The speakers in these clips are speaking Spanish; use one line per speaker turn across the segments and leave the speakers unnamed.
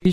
Y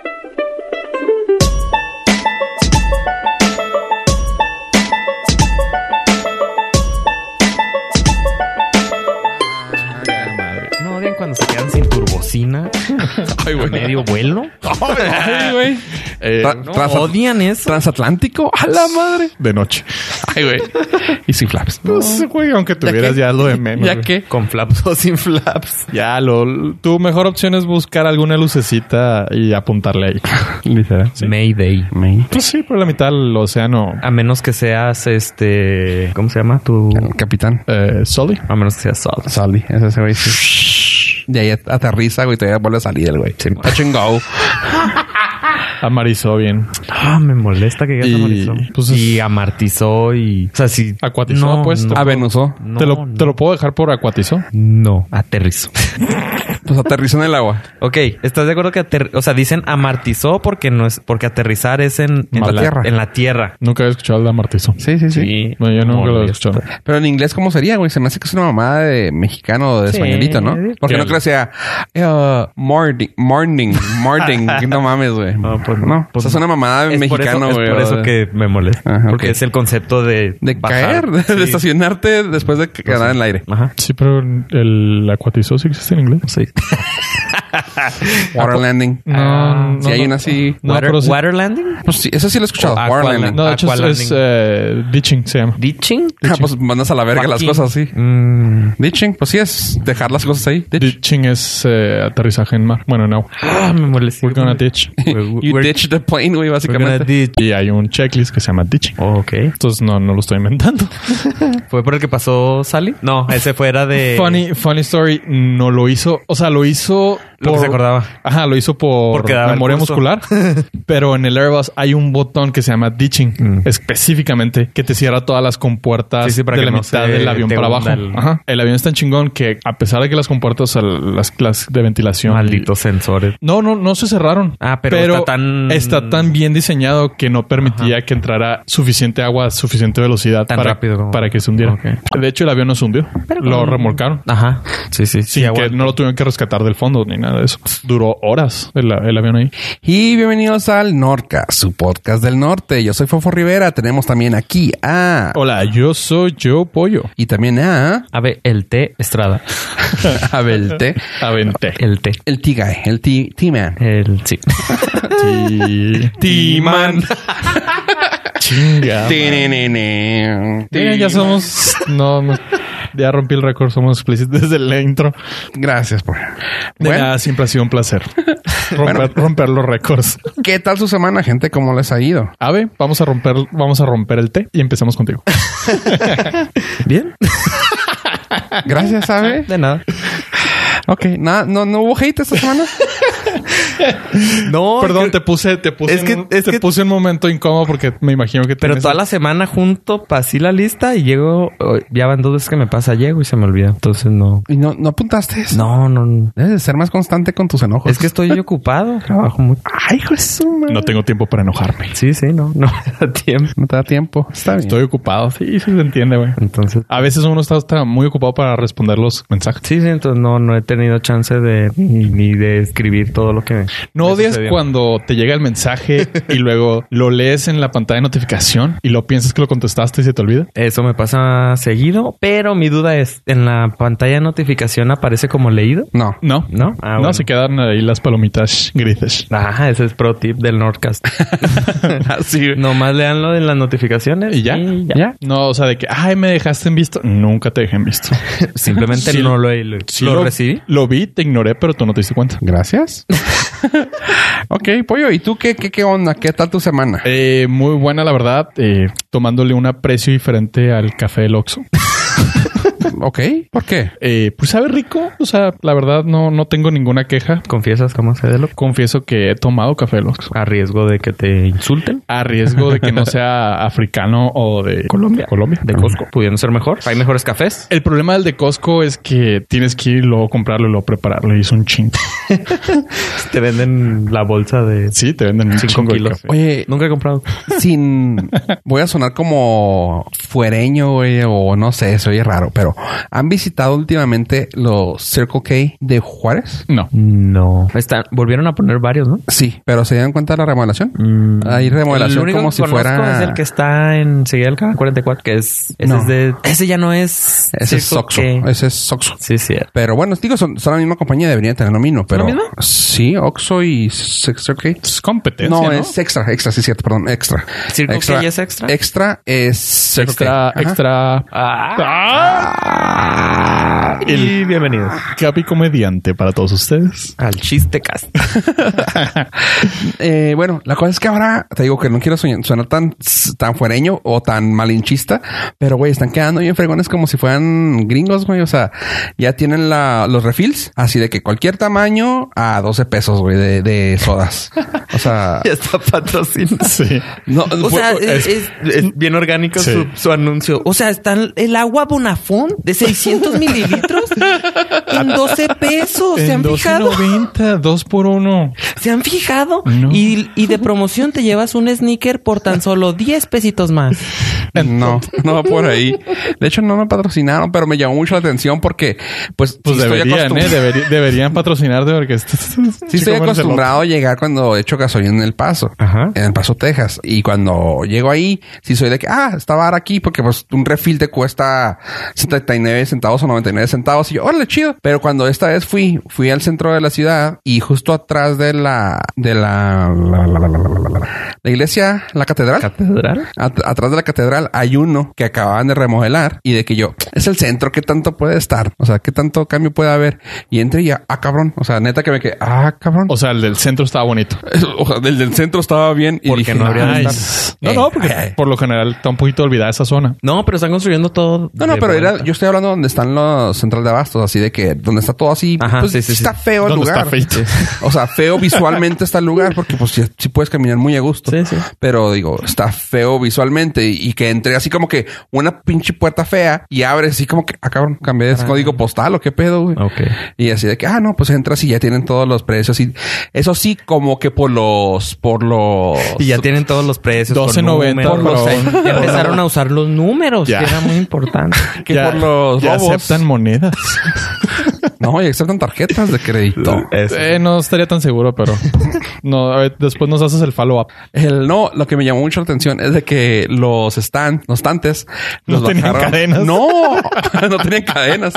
Madre. No odian cuando se quedan sin turbocina
Ay,
a medio vuelo.
Ay, güey. Eh,
Tra-
no,
transat-
Odian eso.
transatlántico a la madre de noche. Ay, güey. Y sin flaps. Pues, güey, aunque tuvieras ya, lo de menos.
Ya
güey.
que con flaps o sin flaps.
Ya, lo. Tu mejor opción es buscar alguna lucecita y apuntarle ahí. Literal. Sí.
Mayday.
Pues sí, por la mitad del océano.
A menos que seas este. ¿Cómo se llama tu?
Capitán.
Eh, Sully.
A menos que seas sol.
Saldi. Ese ese güey. Sí. Y ahí aterriza, güey. Todavía vuelve a salir el güey. Sin touch and go.
Amarizó bien.
Ah, me molesta que digas
Y-
amarizó.
pues es-
y amartizó y. O sea, si.
Acuatizó, pues,
No,
A Venuso.
no,
te, lo,
no.
te lo puedo dejar por acuatizó.
No, aterrizó.
Pues aterrizó en el agua.
ok, ¿estás de acuerdo que ater- o sea, dicen amartizó porque no es porque aterrizar es en, en
Matar.
Tierra.
en la tierra?
Nunca había escuchado el de amartizó.
Sí, sí, sí,
No, yo nunca lo he
Molesta.
escuchado.
Pero en inglés, ¿cómo sería, güey? Se me hace que es una mamada de mexicano o de
Sí.
españolito, ¿no? Porque no creo que sea eh, morning, morning, morning. No mames, güey. No,
No, pues no.
no. O sea, es una mamada de
Es por eso-
mexicano, güey.
Es por eso
o-
que me molesta.
Ajá,
porque
ok.
es el concepto de...
De
bajar.
caer, de
Sí.
estacionarte después de quedar en el aire.
Ajá.
Sí, pero el acuatizó sí existe en inglés.
Sí.
Water landing.
No, Ah, no,
Ah,
Si hay
no.
una así.
No,
Water,
pero sí-
water landing?
Pues sí, eso sí lo he escuchado.
O
Water
aqualand.
landing.
No, de hecho es,
Aqualanding.
es, eh, ditching, se llama.
Ditching?
Ah, pues mandas a la verga las
Fucking.
cosas así.
Mm.
Ditching, pues sí es dejar las cosas ahí. Ditch.
Ditching es eh, aterrizaje en mar. Bueno, no.
Ah, me molesta.
We're gonna ditch.
You ditch the plane, güey,
we're gonna
básicamente.
ditch.
Y hay un checklist que se llama ditching.
Oh, ok.
Entonces no, no lo estoy inventando.
¿Fue por el que pasó Sally? No, ese fue era de...
Funny, funny story, no lo hizo. O sea, lo hizo.
Lo que se acordaba.
Ajá, lo hizo por
Porque daba el
memoria
curso.
muscular. pero en el Airbus hay un botón que se llama ditching
Mm.
específicamente que te cierra todas las compuertas
Sí, sí, para
de
que
la
no
mitad
se
del avión
te
para abajo.
hunda el-
Ajá. El avión es tan chingón que a pesar de que las compuertas, o sea, las, las de ventilación.
Malditos sensores.
No, no, no se cerraron.
Ah, pero está tan-
está tan bien diseñado que no permitía que entrara suficiente agua a suficiente velocidad
Tan
para,
rápido como-
para que se hundiera.
Ok.
De hecho, el avión no se hundió. lo remolcaron.
Ajá. Sí, sí.
Sin que no lo tuvieron que rescatar del fondo ni nada de eso. Duró horas el, el avión ahí.
Y bienvenidos al Norca, su podcast del norte. Yo soy Fofo Rivera. Tenemos también aquí a.
Hola, yo soy Joe Pollo.
Y también a.
A ver, el T Estrada.
Abel T.
Aventé.
El T.
El T-Guy, el T- T-Man.
El... Sí.
T-Man.
Chinga.
Tinenene.
Mira, ya somos. No, no, ya rompí el récord. Somos explícitos desde la intro.
Gracias por.
De
Bueno.
nada, siempre ha sido un placer romper, romper los récords.
¿Qué tal su semana, gente? ¿Cómo les ha ido?
Ave, vamos a romper, vamos a romper el té y empezamos contigo.
Bien.
Gracias, ¿sabe?
De nada.
Ok, nada, no, no hubo hate esta semana.
No.
Perdón,
creo-
te puse, te puse,
Oh, Es que-
en-
es
te
que-
puse un momento incómodo porque me imagino que
Pero
tienes-
toda la semana junto pasé la lista y llego. oh, Ya van dos veces que me pasa, llego y se me olvida. Entonces no.
¿Y no, no apuntaste eso?
No, no. no.
Debes de ser más constante con tus enojos.
Es que estoy ocupado. Trabajo mucho.
Ay, hijo de su madre.
no tengo tiempo para enojarme.
Sí, sí, no. No me da tiempo.
No te da tiempo. Está bien.
Estoy ocupado. Sí, sí se entiende, güey.
Entonces.
A veces uno está, está muy ocupado para responder los mensajes.
Sí, sí, entonces no, no he tenido chance de ni, ni de escribir todo lo que.
No
me
odias
sucedió.
cuando te llega el mensaje y luego lo lees en la pantalla de notificación y lo piensas que lo contestaste y se te olvida.
Eso me pasa seguido, pero mi duda es: ¿en la pantalla de notificación aparece como leído?
No.
No,
No. Ah,
no
bueno.
se quedan ahí las palomitas grises.
Ajá, ese es pro tip del Nordcast. Ah,
Así.
Nomás lean lo de las notificaciones
Y ya,
ya.
ya. No, o sea, de que ay, me dejaste en visto. Nunca te dejé en visto.
Simplemente
Sí.
no lo, he- lo,
Sí
lo recibí.
Lo vi, te ignoré, pero tú no te diste cuenta.
Gracias. ok, pollo. ¿Y tú qué, qué, qué onda? ¿Qué tal tu semana?
Eh, muy buena, la verdad. eh, tomándole un aprecio diferente al café del Oxxo.
ok. ¿Por qué?
Eh, pues sabe rico. O sea, la verdad no, no tengo ninguna queja.
Confiesas cómo se de lo
Confieso que he tomado café del Oxxo.
a riesgo de que te insulten
A riesgo de que no sea africano o de
Colombia.
Colombia.
de Costco, pudiendo ser mejor. Hay mejores cafés.
El problema del de Costco es que tienes que ir y luego comprarlo y luego prepararlo y es un chingo.
Te venden la bolsa de
Sí, te venden un
5
chingo de
kilos.
café.
Oye,
nunca he comprado.
sin... Voy a sonar como fuereño, güey, o no sé, se oye raro. no, pero ¿han visitado últimamente los Circle K de Juárez?
No.
No. Están, volvieron a poner varios, ¿no?
Sí, pero ¿se dieron cuenta de la remodelación? Hay remodelación
Mm, único
como
que
si
conozco
fuera...
Es el que está en Seguelca 44, que es. Ese,
No.
es de- ese ya no es.
Ese es
Circle
Soxo.
K.
Ese es Soxo.
Sí, sí.
Pero bueno, digo, son, son la misma compañía, deberían tener lo mismo, pero...
la misma?
Sí, Oxxo y Circle K.
Es competencia.
No,
No,
es extra, extra, sí, cierto, perdón, extra.
¿Circle K ya es extra?
Extra es Circle K.
extra,
este, Ajá.
extra. Ah.
Y bienvenidos
Capi comediante para todos ustedes.
al chiste cast.
Eh, bueno, la cosa es que ahora te digo que no quiero soñar- sonar tan, tan fuereño o tan malinchista, pero güey, están quedando bien fregones como si fueran gringos, güey. O sea, ya tienen la, los refills así de que cualquier tamaño a 12 pesos, güey, de, de sodas. O sea,
ya está patrocinado.
Sí.
no,
O
fue-
sea, es,
es-
es- es bien orgánico
Sí.
su, su anuncio. O sea, está el- el agua Bonafont de 600 mililitros en 12 pesos. ¿Se han fijado?
2.90, 2 por 1.
¿Se han fijado?
No.
Y, y de promoción te llevas un sneaker por tan solo 10 pesitos más.
No, no va por ahí. De hecho, no me patrocinaron, pero me llamó mucho la atención porque, pues,
Pues
sí estoy
deberían,
acostum-
¿eh? Deberi- deberían patrocinar de porque esto-
Sí, estoy
comerse
acostumbrado a llegar cuando echo gasolina en El Paso,
Ajá.
en El Paso, Texas. Y cuando llego ahí, sí soy de que, ah, estaba ahora aquí porque pues un refil te cuesta 79 centavos o 99 centavos. Y yo, órale, chido. Pero cuando esta vez fui, fui al centro de la ciudad y justo atrás de la, de la, la, la, la, la, la, la, la, la- la iglesia, la catedral.
¿Catedral?
At- atrás de la catedral hay uno que acababan de remodelar y de que yo es el centro, ¿qué tanto puede estar? O sea, ¿qué tanto cambio puede haber? Y entré y ya, ah, cabrón. O sea, neta que me quedé, ah, cabrón.
O sea, el del centro estaba bonito.
O sea, el del centro estaba bien y
Porque
dije, "Ah,
no habría
"Ay,
de
está-
No,
Eh,
no, porque
ay, ay".
por lo general está un poquito olvidada esa zona.
No, pero están construyendo todo.
No, no,
de
pero era-
vuelta.
yo estoy hablando donde están los central de abastos, así de que donde está todo así,
Ajá,
pues
sí, sí, sí.
está feo el
¿Dónde
lugar.
está feito?
O sea, feo visualmente está el lugar porque pues sí, sí puedes caminar muy a gusto.
Sí, sí.
Pero digo, está feo visualmente y, y que entré así como que una pinche puerta fea y abre así como que, ah, cabrón, cambié de código postal o qué pedo, güey.
Ok.
Y así de que, ah, no, pues entras y ya tienen todos los precios y eso sí como que por los, por los...
Y ya tienen todos los precios. con
12.90
números.
por favor.
Ya empezaron a usar los números,
Ya.
que era muy importante.
que por los
ya
robos.
aceptan monedas.
No, y aceptan tarjetas de crédito.
Eh, no estaría tan seguro, pero no, a ver, después nos haces el follow up.
El no, lo que me llamó mucho la atención es de que los stand, los tantes,
No
los
tenían cadenas.
No, no tenían cadenas.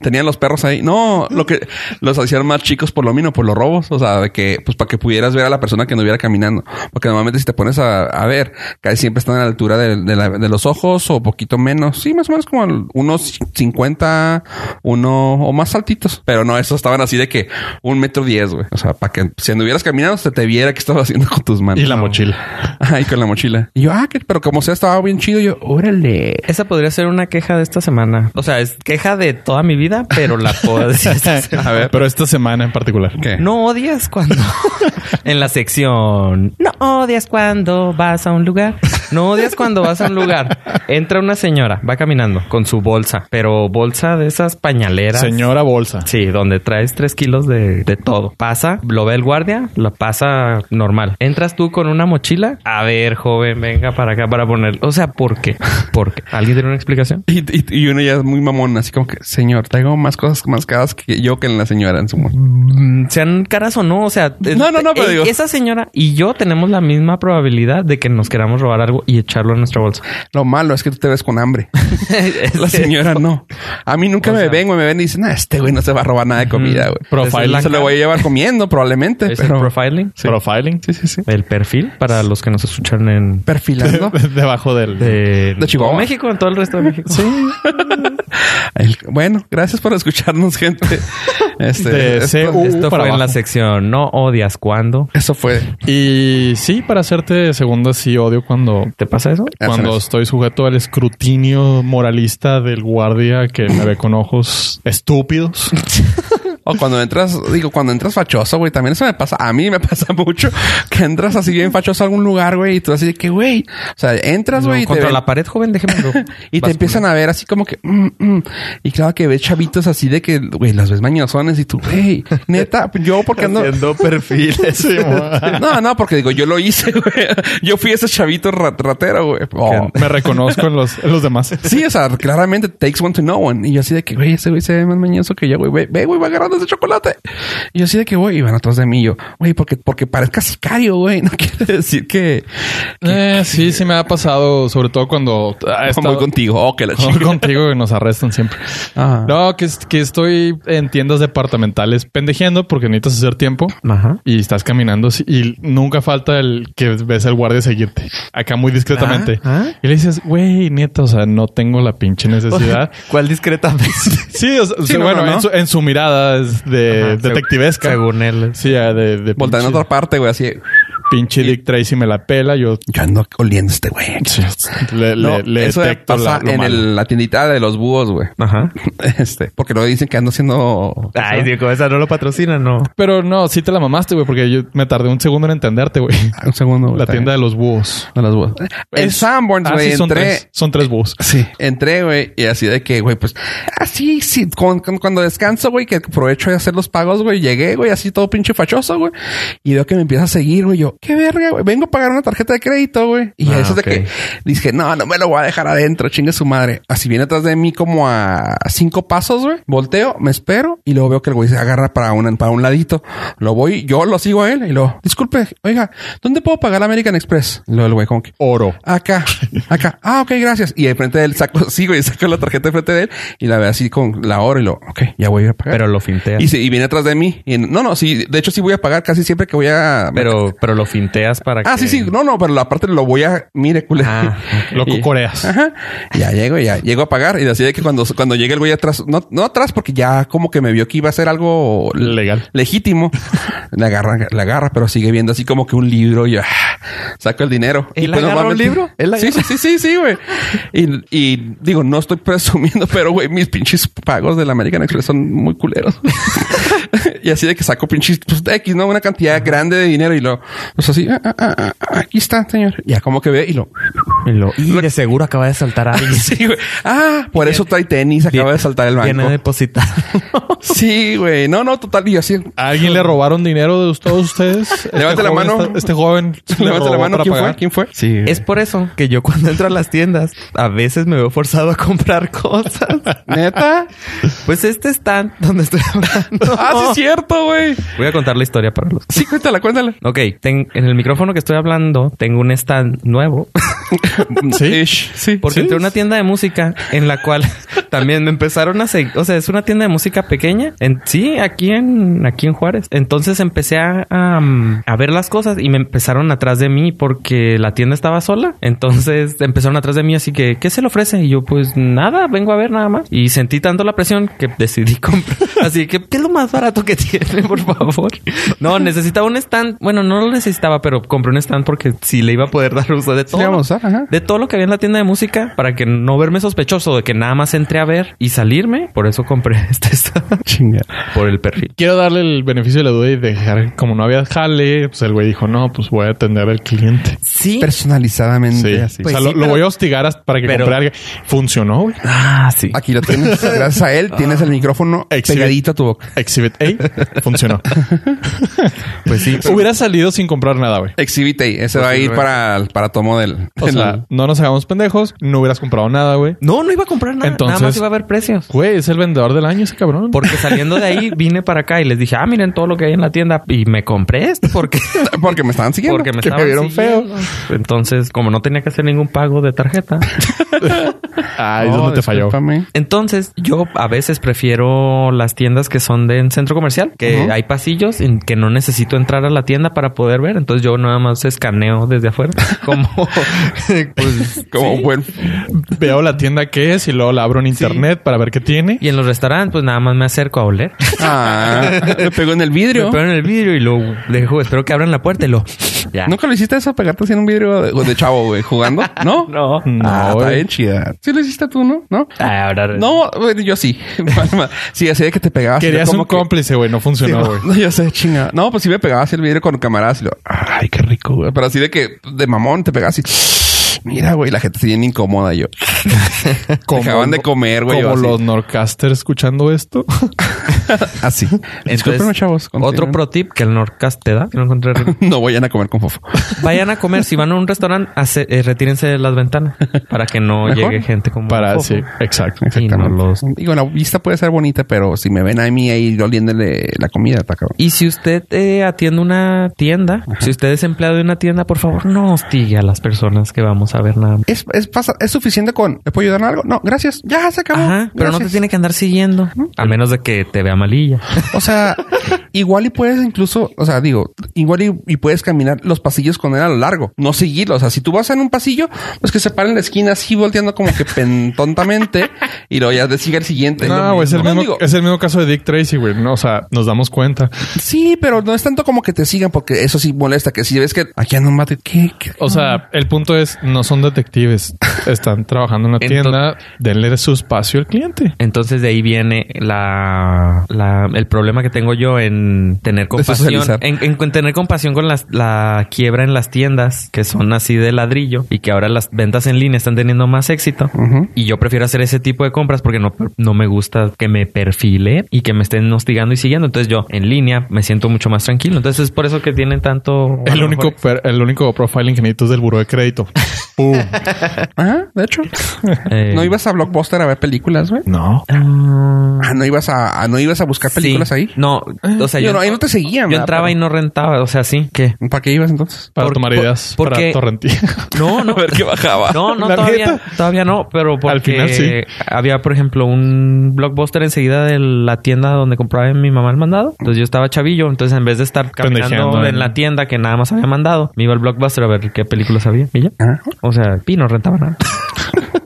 Tenían los perros ahí. No, lo que los hacían más chicos por lo mino, por los robos. O sea, de que, pues para que pudieras ver a la persona que no hubiera caminando. Porque normalmente si te pones a, a ver, casi siempre están a la altura de, de la- de los ojos o poquito menos. Sí, más o menos como al- unos 50, uno o más altitos. Pero no, esos estaban así de que un metro diez, güey. O sea, para que si anduvieras caminando se te viera que estabas haciendo con tus manos.
Y la mochila.
Ay, con la mochila. Y yo, ah, que- pero como sea, estaba bien chido. Yo, órale.
Esa podría ser una queja de esta semana. O sea, es queja de toda mi vida, pero la puedo decir. esta semana.
A ver, pero esta semana en particular.
¿Qué?
No odias cuando en la sección. No odias cuando vas a un lugar. No odias cuando vas a un lugar. Entra una señora, va caminando con su bolsa, pero bolsa de esas pañaleras.
Señora Bolsa.
Sí, donde traes tres kilos de, de todo. Pasa, lo ve el guardia, la pasa normal. Entras tú con una mochila. A ver, joven, venga para acá para poner. O sea, ¿por qué? ¿Por qué? ¿Alguien tiene una explicación?
Y, y- y uno ya es muy mamón, así como que, señor, traigo más cosas más caras que yo que en la señora en su mundo.
Mm, sean caras o no, o sea, eh,
No, no, no, pero
eh,
digo-
esa señora y yo tenemos la misma probabilidad de que nos queramos robar algo y echarlo en nuestra bolsa.
Lo malo es que tú te ves con hambre. La señora no. A mí nunca
O
me
sea-
ven, güey. Me ven y dicen, ah, este güey no se va a robar nada de comida, güey.
Profiling.
Se lo voy a llevar comiendo, probablemente.
¿Es el
Pero
profiling?
Profiling.
sí, sí, sí.
El perfil para los que nos escuchan en
Perfilando.
Debajo del...
de,
De Chihuahua.
todo México, en todo el resto de México. Sí.
El- bueno, gracias por escucharnos, gente. Este,
De
esto-
CU.
Esto fue
para
en la
abajo.
sección No odias cuando.
eso fue.
Y sí, para hacerte segunda, sí odio cuando
¿Te pasa eso?
Hacen
cuando
eso.
estoy sujeto al escrutinio moralista del guardia que me ve con ojos estúpidos
O cuando entras, digo, cuando entras fachoso, güey, también eso me pasa. A mí me pasa mucho que entras así bien fachoso a algún lugar, güey, y tú así de que, güey, o sea, entras, güey, y te
contra
ven-
la pared, joven, déjemelo.
y te empiezan a ver así como que... mm, mm. Y claro que ves chavitos así de que, güey, las ves mañosones y tú, güey, neta, yo porque ando...
Haciendo perfiles.
No, no, porque digo, yo lo hice, güey. Yo fui ese chavito rat- ratero, güey. Oh.
Me reconozco en los, en los demás.
Sí, o sea, claramente takes one to know one. Y yo así de que, güey, ese güey se ve más mañoso que yo, güey. Ve, ve, güey, va agarrando ese chocolate. Y yo así de que, güey, y van atrás de mí. y Yo, güey, porque, porque parezca sicario, güey. No quiere decir que
Eh, sí, sí me ha pasado, sobre todo cuando ah, he
voy
estado-
contigo. Oh, que la
Voy
chica.
contigo y nos arrestan siempre.
Ah.
No, que, es- que estoy en tiendas departamentales pendejeando porque necesitas hacer tiempo.
Ajá.
Y estás caminando así, y nunca falta el que ves al guardia seguirte. Acá muy discretamente.
Ah, ah.
Y le dices, güey, neta, o sea, no tengo la pinche necesidad.
¿Cuál discretamente?
sí, o sea,
Sí, no,
bueno,
no, no.
En, su, en su mirada es de
Ajá,
detectivesca.
Según él.
Sí, ah, de, de
Volteando a
pinche,
otra parte, güey, así.
pinche Dick Tracy me la pela. Yo
Yo ando oliendo a este güey.
sí, le,
No,
le, le
eso
detecto
pasa
la- lo
en
malo.
el- la tiendita de los búhos, güey.
Ajá.
Este, porque luego dicen que ando haciendo.
Ay, Diego, esa no lo patrocina, no.
Pero no, sí te la mamaste, güey, porque yo me tardé un segundo en entenderte, güey.
Un segundo. güey, Ah,
La
está bien.
tienda de los búhos.
de los búhos. En
Es-
Sanborns,
Ah,
güey,
sí, son
entré.
tres. Son tres búhos.
Sí, entré, güey, y así de que, güey, pues, así, sí, con- con- cuando descanso, güey, que aprovecho de hacer los pagos, güey, llegué, güey, así todo pinche fachoso, güey, y veo que me empieza a seguir, güey, yo, qué verga, güey, vengo a pagar una tarjeta de crédito, güey, y
Ah,
eso
ok.
de que dije, no, no me lo voy a dejar adentro, chingue su madre. Así viene atrás de mí como a cinco pasos, güey, volteo, me espero, y luego veo que el güey se agarra para un, para un ladito, lo voy, yo lo sigo a él, y lo, disculpe, oiga, ¿dónde puedo pagar American Express? Y luego el güey, como que,
Oro.
¿Eh?
Acá, acá. Ah, ok, gracias. Y enfrente de él saco, sí, güey, saco la tarjeta enfrente de él y la veo así con la hora y lo, ok, ya voy a pagar.
Pero lo finteas.
y, sí, y viene atrás de mí. Y no, no, sí, de hecho sí voy a pagar casi siempre que voy a...
Pero, pero lo finteas para que.
Ah, sí, sí, no, no, pero la parte lo voy a... Mire, culero.
Ah,
Lo
Y- Ah.
cocoreas.
Ajá. Ya llego, ya llego a pagar y así de que cuando, cuando llegue el güey atrás, no, no atrás porque ya como que me vio que iba a ser algo
Legal.
legítimo. Le agarra, le agarra, pero sigue viendo así como que un libro y yo, ah, saco el dinero.
¿Él
y pues,
agarra un
normalmente-
libro? ¿Él
Sí, sí, sí, sí, sí, güey. Y, y digo, no estoy presumiendo, pero güey, mis pinches pagos del American Express son muy culeros. y así de que saco pinches pues, X, ¿no? Una cantidad grande de dinero y lo, pues así, ah, ah, ah, ah, aquí está, señor. Ya como que ve y lo,
Y, lo- y de seguro acaba de saltar a alguien.
Sí, güey. Ah, por eso trae tenis. Acaba de saltar el
Viene a
banco.
depositar.
Sí, güey. No, no, total. Y yo así.
¿A alguien le robaron dinero de todos ustedes? Este
Levante la
joven
mano.
está- este joven. le
Levanta la
robó
mano.
para
¿Quién fue?
pagar.
¿Quién fue? Sí.
Es por eso que yo cuando entro a las tiendas, a veces me veo forzado a comprar cosas.
¿Neta?
Pues este stand donde estoy hablando.
Ah, sí es cierto, güey.
Voy a contar la historia para los.
Sí, cuéntala, cuéntala.
Ok, ten- en el micrófono que estoy hablando tengo un stand nuevo
Sí. Sí.
porque
Sí.
entré a una tienda de música en la cual también me empezaron a seguir. O sea, es una tienda de música pequeña. En, sí, aquí en, aquí en Juárez. Entonces empecé a, a, mm, a ver las cosas y me empezaron atrás de mí porque la tienda estaba sola. Entonces empezaron atrás de mí. Así que, ¿qué se le ofrece? Y yo, pues nada, vengo a ver nada más. Y sentí tanto la presión que decidí comprar. Así que, ¿qué es lo más barato que tiene, por favor? No, necesitaba un stand. Bueno, no lo necesitaba, pero compré un stand porque sí le iba a poder dar uso de todo.
le
lo-
iba a usar, ajá.
de todo lo que había en la tienda de música para que no verme sospechoso de que nada más entré a ver y salirme. Por eso compré este stand.
Chinga.
Por el perfil.
Quiero darle el beneficio de la duda y dejar, como no había jale, pues el güey dijo, no, pues voy a atender al cliente.
Sí.
Personalizadamente.
Sí,
Así.
o sea,
Pues
lo,
sí,
lo
pero-
voy a hostigar hasta para que
pero-
compre algo. Funcionó, güey.
Ah, sí.
Aquí lo tienes. Gracias a él tienes el micrófono
Exhibit.
pegadito a tu boca.
Exhibit A funcionó.
Pues sí.
Hubiera salido sin comprar nada, güey.
Exhibit A. Ese va a ir para, para tu modelo.
O sea, no nos hagamos pendejos, no hubieras comprado nada, güey.
No, no iba a comprar nada.
Entonces-
nada más iba a ver precios.
Güey, es el vendedor del año ese cabrón.
Porque saliendo de ahí vine para acá y les dije, ah, miren todo lo que hay en la tienda. Y me compré esto porque,
porque me estaban siguiendo.
porque me
que me
estaban
vieron feo.
siguiendo. Entonces, como no tenía que hacer ningún pago de tarjeta,
Ah, es donde te falló.
discúlpame.
Entonces, yo a veces prefiero las tiendas que son de en centro comercial, que
Ujú.
hay pasillos en que no necesito entrar a la tienda para poder ver. Entonces, yo nada más escaneo desde afuera. Como, pues,
Como
sí.
buen.
Veo la tienda que es y luego la abro en internet para ver qué tiene.
Y en los restaurantes, pues nada más me acerco a oler.
Ah, me pegó en el vidrio.
Me pego en el vidrio y lo dejo. Espero que abran la puerta y lo. Ya.
Nunca lo hiciste eso, pegarte así en un vidrio de, de chavo, güey, jugando, ¿no?
No.
Ah,
No,
está
güey.
bien chida. Sí lo hiciste tú, ¿no? ¿No?
Ah, ahora.
No, bueno, yo sí. sí, así de que te pegabas.
Querías
como
un cómplice, güey. No
Sí,
funcionó,
no,
güey.
no, yo sé, chinga. No, pues sí me pegaba así el vidrio con camaradas y lo, ay, qué rico, güey. Pero así de que de mamón te pegabas así. Mira, güey, la gente se viene incómoda yo. Dejaban de comer, güey. yo
Como
así.
los Norcasters escuchando esto.
Así. Discúlpenme, chavos.
Otro
continúen.
pro tip que el Norcast te da, que no encontré.
No vayan a comer con fofo.
Vayan a comer. Si van a un restaurante, hace- eh, retírense de las ventanas para que no
Mejor.
llegue gente como.
Para,
Ojo.
sí, exacto.
Y no los-
Digo, la vista puede ser bonita, pero si me ven a mí ahí oliéndole la comida, está cabrón.
Y si usted eh, atiende una tienda, si usted es empleado de una tienda, por favor, no hostigue a las personas que vamos a ver nada más.
Es, es, pasa- es suficiente con, ¿me puedo ayudar en algo? No, gracias. Ya se acabó.
Ajá, pero no te
Gracias.
tiene que andar siguiendo. A menos de que te vea malilla.
O sea, igual y puedes incluso, o sea, digo, igual y, y puedes caminar los pasillos con él a lo largo, no seguirlo. O sea, si tú vas en un pasillo, pues que se paren en la esquina así volteando como que pen- tontamente y luego ya de sigue el siguiente.
No,
Lo
güey, es, el
mismo. Pues
mismo-
Digo,
es el mismo caso de Dick Tracy, güey. No, o sea, nos damos cuenta.
Sí, pero no es tanto como que te sigan porque eso sí molesta. Que si ves que aquí anda un mate, ¿qué? ¿Qué?
O
Ah.
sea, el punto es, no son detectives. Están trabajando en una
Ento-
tienda. Denle su espacio al cliente.
Entonces de ahí viene la, la- el problema que tengo yo en tener compasión,
socializar.
en, en- en tener compasión con las, la quiebra en las tiendas que son así de ladrillo y que ahora las ventas en línea están teniendo más éxito.
Ujú.
Y yo prefiero hacer ese tipo de compras porque no, no me gusta que me perfile y que me estén hostigando y siguiendo. Entonces yo en línea me siento mucho más tranquilo. Entonces es por eso que tienen tanto...
El único, per- el único profiling que necesito es del buró de crédito. ¡Pum!
Ajá, Ah, de hecho.
Eh,
¿No ibas a Blockbuster a ver películas, güey?
No.
ah,
Ah, no ibas a, a- no ibas a buscar películas
sí.
ahí.
No, o sea, yo,
Digo, no, ahí no te seguían.
yo entraba y no rentaba. O sea, sí, ¿qué?
no. ¿Para qué ibas entonces?
Para
Por-
tomar
por-
ideas.
porque-
Para torrentía.
No, no.
A ver qué bajaba.
No, no,
La
todavía,
neta.
todavía no, pero porque
Al final sí.
había, por ejemplo, un blockbuster enseguida de la tienda donde compraba mi mamá el mandado. Entonces yo estaba chavillo, entonces en vez de estar caminando
Pendejeando,
en
¿no?
la tienda que nada más había mandado, me iba al blockbuster a ver qué películas había. Y ya.
Ah.
O sea, Pi no rentaba nada.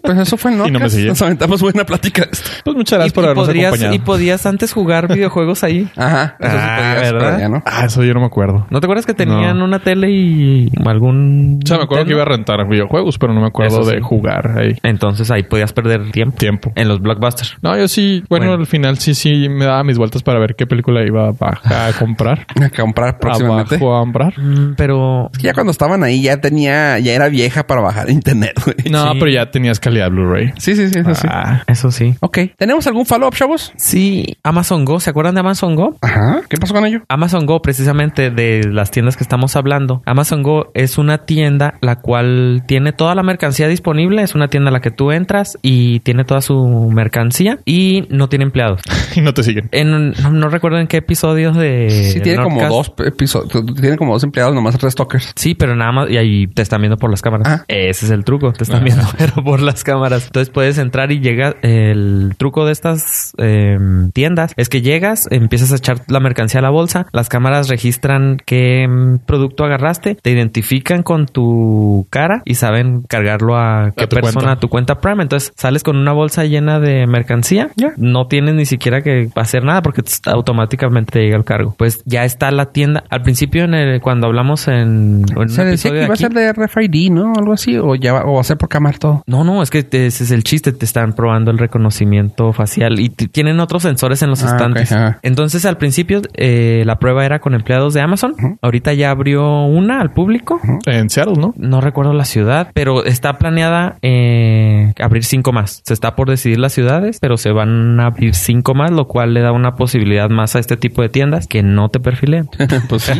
Pues eso fue el
Y no me
Nordcast.
siguió.
Nos aventamos buena plática de esto.
Pues muchas gracias por
y,
habernos
podrías,
acompañado.
y podías antes jugar videojuegos ahí.
Ajá. Eso
Ah,
sí podías,
¿verdad?
pero ya no.
Ah, eso yo no me acuerdo.
¿No te acuerdas que tenían
No.
una tele y algún...
O sea, me acuerdo que iba a rentar videojuegos, pero no me acuerdo
Eso sí.
de jugar ahí.
Entonces ahí podías perder tiempo.
Tiempo.
En los blockbusters.
No, yo sí, bueno,
Bueno.
al final sí, sí me daba mis vueltas para ver qué película iba a baja- a comprar.
A comprar próximamente.
Abajo a comprar.
Mm, Pero
Ya cuando estaban ahí ya tenía, ya era vieja para bajar internet, güey.
No,
Sí.
pero ya tenías calidad Blu-ray.
Sí, sí, sí, eso sí.
Ah,
eso sí.
Ok. ¿Tenemos algún follow-up, chavos?
Sí, Amazon Go, ¿se acuerdan de Amazon Go?
Ajá. ¿Qué pasó con ello?
Amazon Go, precisamente de las tiendas que estamos hablando. Amazon Go es una tienda la cual tiene toda la mercancía disponible. Es una tienda a la que tú entras y tiene toda su mercancía y no tiene empleados.
y no te siguen.
En, no, no recuerdo en qué episodios de.
Sí, tiene como
Eh, Nordcast.
dos episodios, tiene como dos empleados, nomás tres stalkers.
Sí, pero nada más. Y ahí te están viendo por las cámaras.
Ah.
Ese es el truco. Te están viendo, pero por las cámaras. Entonces puedes entrar y llega. El truco de estas eh, tiendas es que llegas, empiezas a echar la mercancía a la bolsa. Las cámaras registran qué mm, producto agarraste, te identifican con tu cara y saben cargarlo a qué
tu
persona,
cuenta.
a tu cuenta Prime. Entonces sales con una bolsa llena de mercancía.
Ya.
No tienes ni siquiera que hacer nada porque tss, automáticamente te llega el cargo. Pues ya está la tienda. Al principio, en el, cuando hablamos en, en un
Se decía
episodio
que
de
iba a
aquí-
ser de RFID, ¿no? Algo así, o ya va, o va a ser por cámara todo.
No, no, es que te- ese es el chiste. Te están probando el reconocimiento facial y t- tienen otros sensores en los
Ah,
estantes.
ok, ajá.
Entonces, al principio, eh, la prueba era con empleados de Amazon.
Ujú.
Ahorita ya abrió una al público.
En Seattle, ¿no?
No recuerdo la ciudad, pero está planeada eh, abrir cinco más. Se está por decidir las ciudades, pero se van a abrir cinco más, lo cual le da una posibilidad más a este tipo de tiendas que no te perfilean.
pues sí.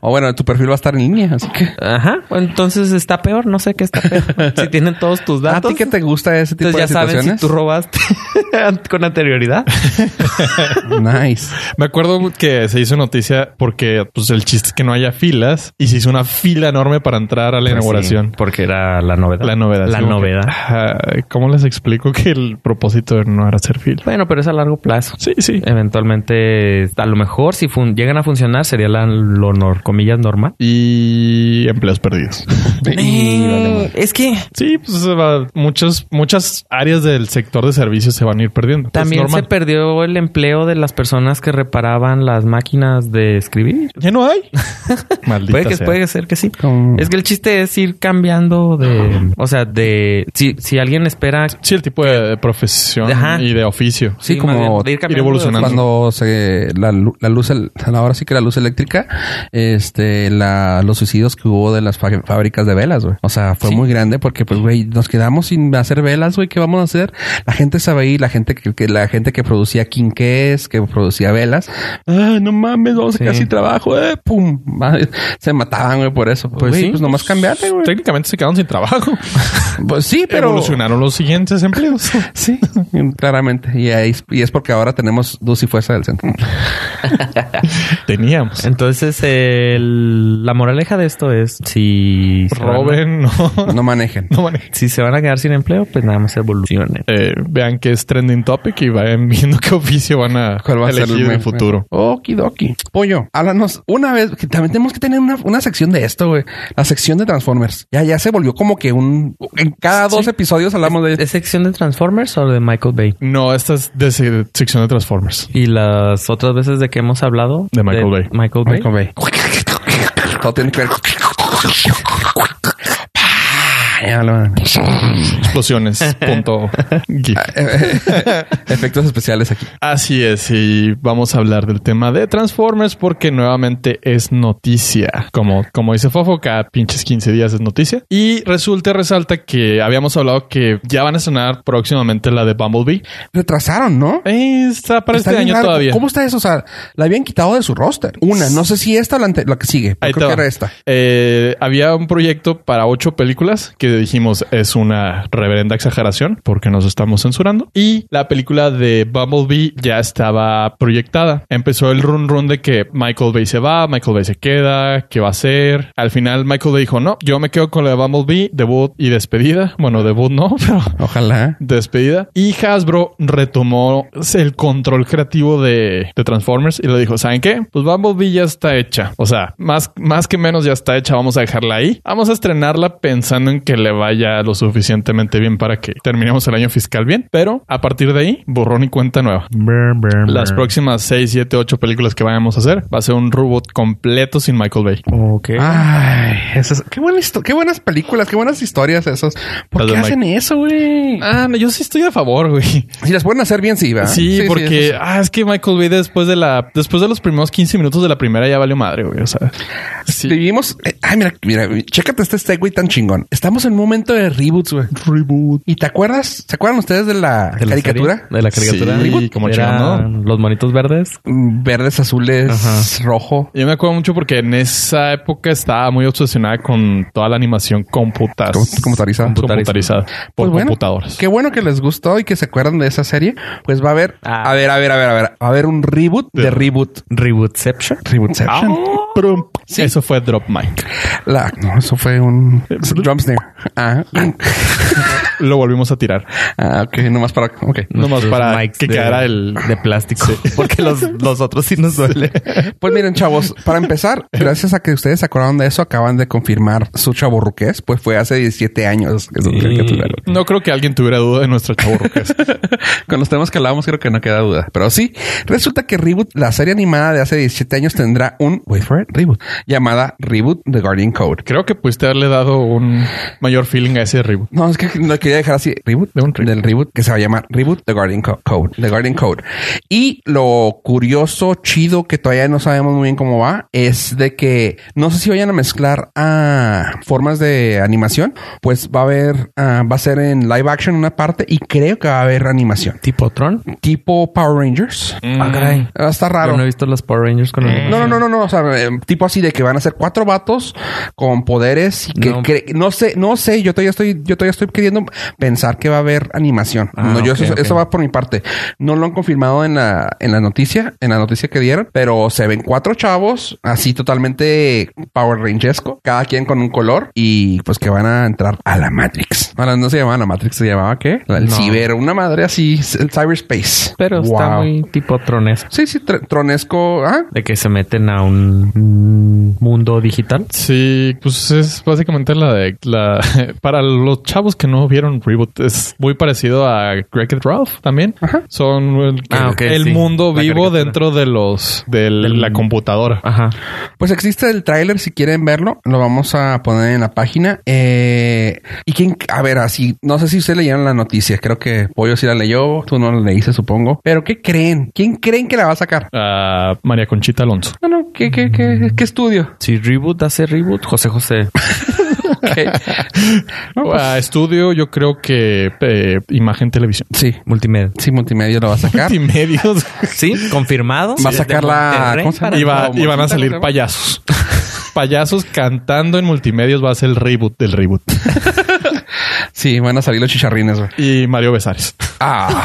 o bueno, tu perfil va a estar en línea, así que.
Ajá. Entonces está peor. No sé qué está peor. si tienen todos tus
¿A
datos.
ti que te gusta ese tipo
Entonces ya
de
saben si
situaciones?
tú robaste con anterioridad.
nice.
Me acuerdo que se hizo noticia porque pues el chiste es que no haya filas y se hizo una fila enorme para entrar
Pues
a la inauguración.
porque era la novedad.
La novedad.
La
Sí, como que,
novedad.
ah, ¿Cómo les explico que el propósito no era hacer fila?
Bueno, pero es a largo plazo.
Sí, sí.
Eventualmente, a lo mejor si fun- llegan a funcionar sería la, lo nor- comillas normal.
Y empleos perdidos.
Eh, es que
Sí, pues va- muchas, muchas áreas del sector de servicios se van a ir perdiendo. Es
También se
normal.
perdió el empleo de las personas que reparaban las máquinas de escribir.
Ya no hay. Maldita
Puede que,
sea.
puede ser que sí.
Como-
Es que el chiste es ir cambiando de... O sea, de... Si, si alguien espera...
Sí, el tipo de, de profesión
Ajá.
y de oficio.
Sí,
más
como
bien, de ir cambiando de-
evolucionando.
Cuando se la, lu- la luz, el- ahora sí que la luz eléctrica, este, la, los suicidios que hubo de las fa- fábricas de velas, güey. O sea, fue muy grande porque, pues, güey, nos quedamos sin hacer velas, güey. ¿Qué vamos a hacer? La gente sabe ahí, la gente que, que- la gente que producía quinqués, que producía velas. Ah, no mames, vamos a quedar
Sí.
sin trabajo, eh, pum. Madre, se mataban, güey, por eso. Pues,
Pues
güey,
sí.
pues nomás cambiarle, güey.
Técnicamente se quedaron sin trabajo.
Pues sí, pero.
Evolucionaron los siguientes empleos.
Sí, claramente. Y, ahí- y es porque ahora tenemos luz y fuerza del centro.
Teníamos.
Entonces, el- la moraleja de esto es... Si... se van a-
Roben, no.
No manejen.
No manejen.
Si se van a quedar sin empleo, pues nada más evolucionen.
Eh, vean que es trending topic y vayan viendo qué oficio van a
¿Cuál va a
elegir
ser el
en el futuro.
Okidoki. Pollo, háblanos una vez. Que también tenemos que tener una, una sección de esto, güey. La sección de Transformers. Ya, ya se volvió como que un. En cada dos episodios hablamos de este,
¿Es sección de Transformers o de Michael Bay?
No, esta es de se- sección de Transformers.
Y las otras veces de que hemos hablado...
De Michael Bay.
Michael Bay.
Michael Bay. Todo tiene que ver. con- Ya lo-
Explosiones. punto. gif.
Efectos especiales aquí.
Así es, y vamos a hablar del tema de Transformers porque nuevamente es noticia. Como, como dice Fofo, cada pinches 15 días es noticia. Y resulta, resalta que habíamos hablado que ya van a sonar próximamente la de Bumblebee.
Retrasaron, ¿no?
Eh, está para
Está
este
bien
año
raro.
todavía.
¿Cómo está eso? O sea, la habían quitado de su roster. Una, no sé si esta o la, ante- la que sigue. Yo
Ahí
creo que
te va.
era esta.
Eh, había un proyecto para ocho películas que dijimos es una reverenda exageración porque nos estamos censurando. Y la película de Bumblebee ya estaba proyectada. Empezó el run run de que Michael Bay se va, Michael Bay se queda, ¿qué va a hacer? Al final Michael Bay dijo, no, yo me quedo con la de Bumblebee, debut y despedida. Bueno, debut no, pero
Ojalá.
despedida. Y Hasbro retomó el control creativo de, de Transformers y le dijo, ¿saben qué? Pues Bumblebee ya está hecha. O sea, más, más que menos ya está hecha. Vamos a dejarla ahí. Vamos a estrenarla pensando en que le vaya lo suficientemente bien para que terminemos el año fiscal bien. Pero a partir de ahí, borrón y cuenta nueva. Las próximas 6, 7, 8 películas que vayamos a hacer va a ser un robot completo sin Michael Bay.
Ok.
Ay, esas, qué, buena histo- qué buenas películas, qué buenas historias esas. ¿Por
Las
qué
de Mike-
hacen eso, güey?
Ah, no, yo sí estoy a favor, güey.
Si las pueden hacer bien, sí, va.
Sí, porque
sí, sí.
ah, es que Michael Bay después de la después de los primeros 15 minutos de la primera ya valió madre, güey, o sea. Sí.
Vivimos. eh, ay, mira, mira, chécate este segue tan chingón. Estamos en un momento de reboots, güey. Reboot. ¿Y te acuerdas? ¿Se acuerdan ustedes de la
¿De la
caricatura?
serie? De la caricatura.
Sí, como
Eran Los monitos verdes.
Mm, Verdes, azules,
Ajá.
rojo.
Yo me acuerdo mucho porque en esa época estaba muy obsesionada con toda la animación computas,
Com- computarizada.
computarizada
Pues
por
bueno,
computadoras.
Qué bueno que les gustó y que se acuerdan de esa serie. Pues va a haber,
Ah.
a ver, a ver, a ver, a ver, va a haber un reboot de,
De-
reboot.
Rebootception.
Ah,
Rebootception.
prum. Eso fue Drop Mic.
La, no, eso fue un drum snare. Ah,
Lo volvimos a tirar.
ah, ok, nomás para. Ok.
Nomás
Nuestros
para
mics
que
de-
quedara el-
De plástico. Porque los, los otros sí nos duele.
Pues miren, chavos, para empezar, gracias a que ustedes se acordaron de eso, acaban de confirmar su chaborruqués, pues fue hace 17 años. que su caricatura.
No creo que alguien tuviera duda de nuestra chaburrucas.
Con los temas que hablábamos, creo que no queda duda. Pero sí, resulta que Reboot, la serie animada de hace 17 años, tendrá un wait for it, reboot llamada Reboot The Guardian Code.
creo que pudiste haberle dado un mayor feeling a ese reboot.
No, es que lo quería dejar así. Reboot.
De un reboot.
Del reboot que se va a llamar Reboot The Guardian Co- Code. The Guardian Code. Y lo curioso, chido, que todavía no sabemos muy bien cómo va, es de que no sé si vayan a mezclar a formas de animación. Pues va a haber, ah, va a ser en live action una parte y creo que va a haber animación.
Tipo Tron.
Tipo Power Rangers.
Ah, caray.
Ah, Está raro.
Yo no he visto los Power Rangers con el...
No, no, no, no, no. O sea, eh, tipo así de que van a ser cuatro vatos con poderes y que
No.
no, no sé, no sé. Yo todavía estoy, yo todavía estoy queriendo pensar que va a haber animación.
Ah,
no, yo
ok,
eso,
ok.
eso va por mi parte. No lo han confirmado en la, en la noticia, en la noticia que dieron, pero se ven cuatro chavos así totalmente Power Rangesco, cada quien con un color y pues que van a entrar a la Matrix. Ahora no se llamaba la Matrix, se llamaba qué? La- El
No.
ciber, una madre así, el cyberspace.
Pero está
Wow.
muy tipo Tron eso.
Sí, sí, tr- tronesco. Ah,
De que se meten a un mm, mundo digital.
Sí, pues es básicamente la de la para los chavos que no vieron hicieron reboot. Es muy parecido a Wreck It Ralph también. Son el,
Ah, ok,
el
sí.
mundo
La
vivo
caricatura.
dentro de los de la computadora.
Ajá.
Pues existe el tráiler, si quieren verlo, lo vamos a poner en la página. Eh, y quién, a ver, así, no sé si ustedes leyeron la noticia, creo que Pollo sí la leyó, tú no la leíste, supongo. Pero ¿qué creen? ¿Quién creen que la va a sacar?
Ah, María Conchita Alonso.
No, no, ¿qué, qué, qué, qué estudio?
Si reboot hace reboot, José José.
¿Qué? No, pues,
A Ah, estudio, yo creo que eh, imagen televisión.
sí,
Multimedia.
sí, multimedia lo va a sacar.
Y medios.
Sí, confirmado.
Va a sacar la-
Monterrey
¿cómo se llama?
para-
Y, va-
Como
y van a
Monchita,
salir
¿no?
payasos. payasos cantando en multimedios va a ser el reboot del reboot.
Sí, van a salir los chicharrines, güey.
Y Mario Besares.
Ah.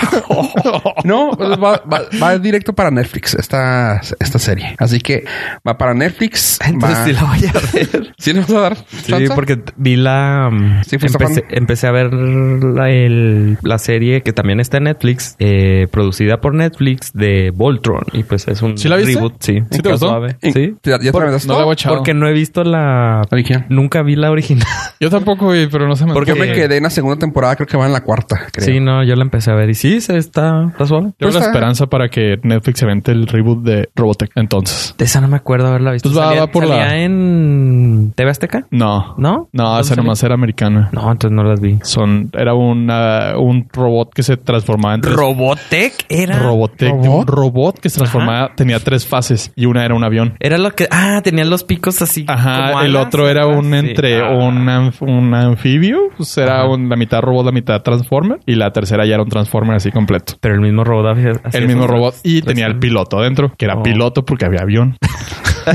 No, pues va, va- va directo para Netflix esta, esta serie. Así que va para Netflix.
Entonces
va-
sí la voy a ver.
¿Sí le vas a dar?
Sí,
chance?
porque vi la... mm,
Sí, fuiste
empecé, empecé a ver la, el- la serie que también está en Netflix, eh, producida por Netflix, de Voltron. Y pues es un
¿Sí la viste?
reboot. Sí.
¿Sí te gustó?
Suave.
¿Y-
Sí.
¿Ya te aventaste
No
todo?
la voy a echar.
Porque no he visto la...
Original.
Nunca vi la original.
Yo tampoco, güey, pero no se me
Porque
antoja.
me quedé en la segunda temporada, creo que va en la cuarta. Creo.
Sí, no, yo la empecé a ver y sí, se está, está suave.
Tengo
Pues
la
está-
esperanza para que Netflix se vente el reboot de Robotech. Entonces,
De esa no me acuerdo haberla visto.
Pues va-
¿Salía,
va por
salía
la-
en TV Azteca?
no.
¿No?
No,
¿Dónde
esa
salió?
nomás era americana.
No, entonces no las vi.
Son, era una, un robot que se transformaba en tres-
Robotech era...
Robotech. Un robot que se transformaba, tenía tres fases y una era un avión.
Era lo que... Ah, tenían los picos así. como
Ajá, el
alas
otro era
atrás,
un
sí.
entre
Ah.
un, anf- un anfibio, pues era
Ajá.
un- la mitad robot, la mitad transformer y la tercera ya era un transformer así completo.
Pero el mismo robot. hacía- hacía
el mismo
esos
robot
tres-
y
tres-
tenía el piloto adentro, que era
Oh.
piloto porque había avión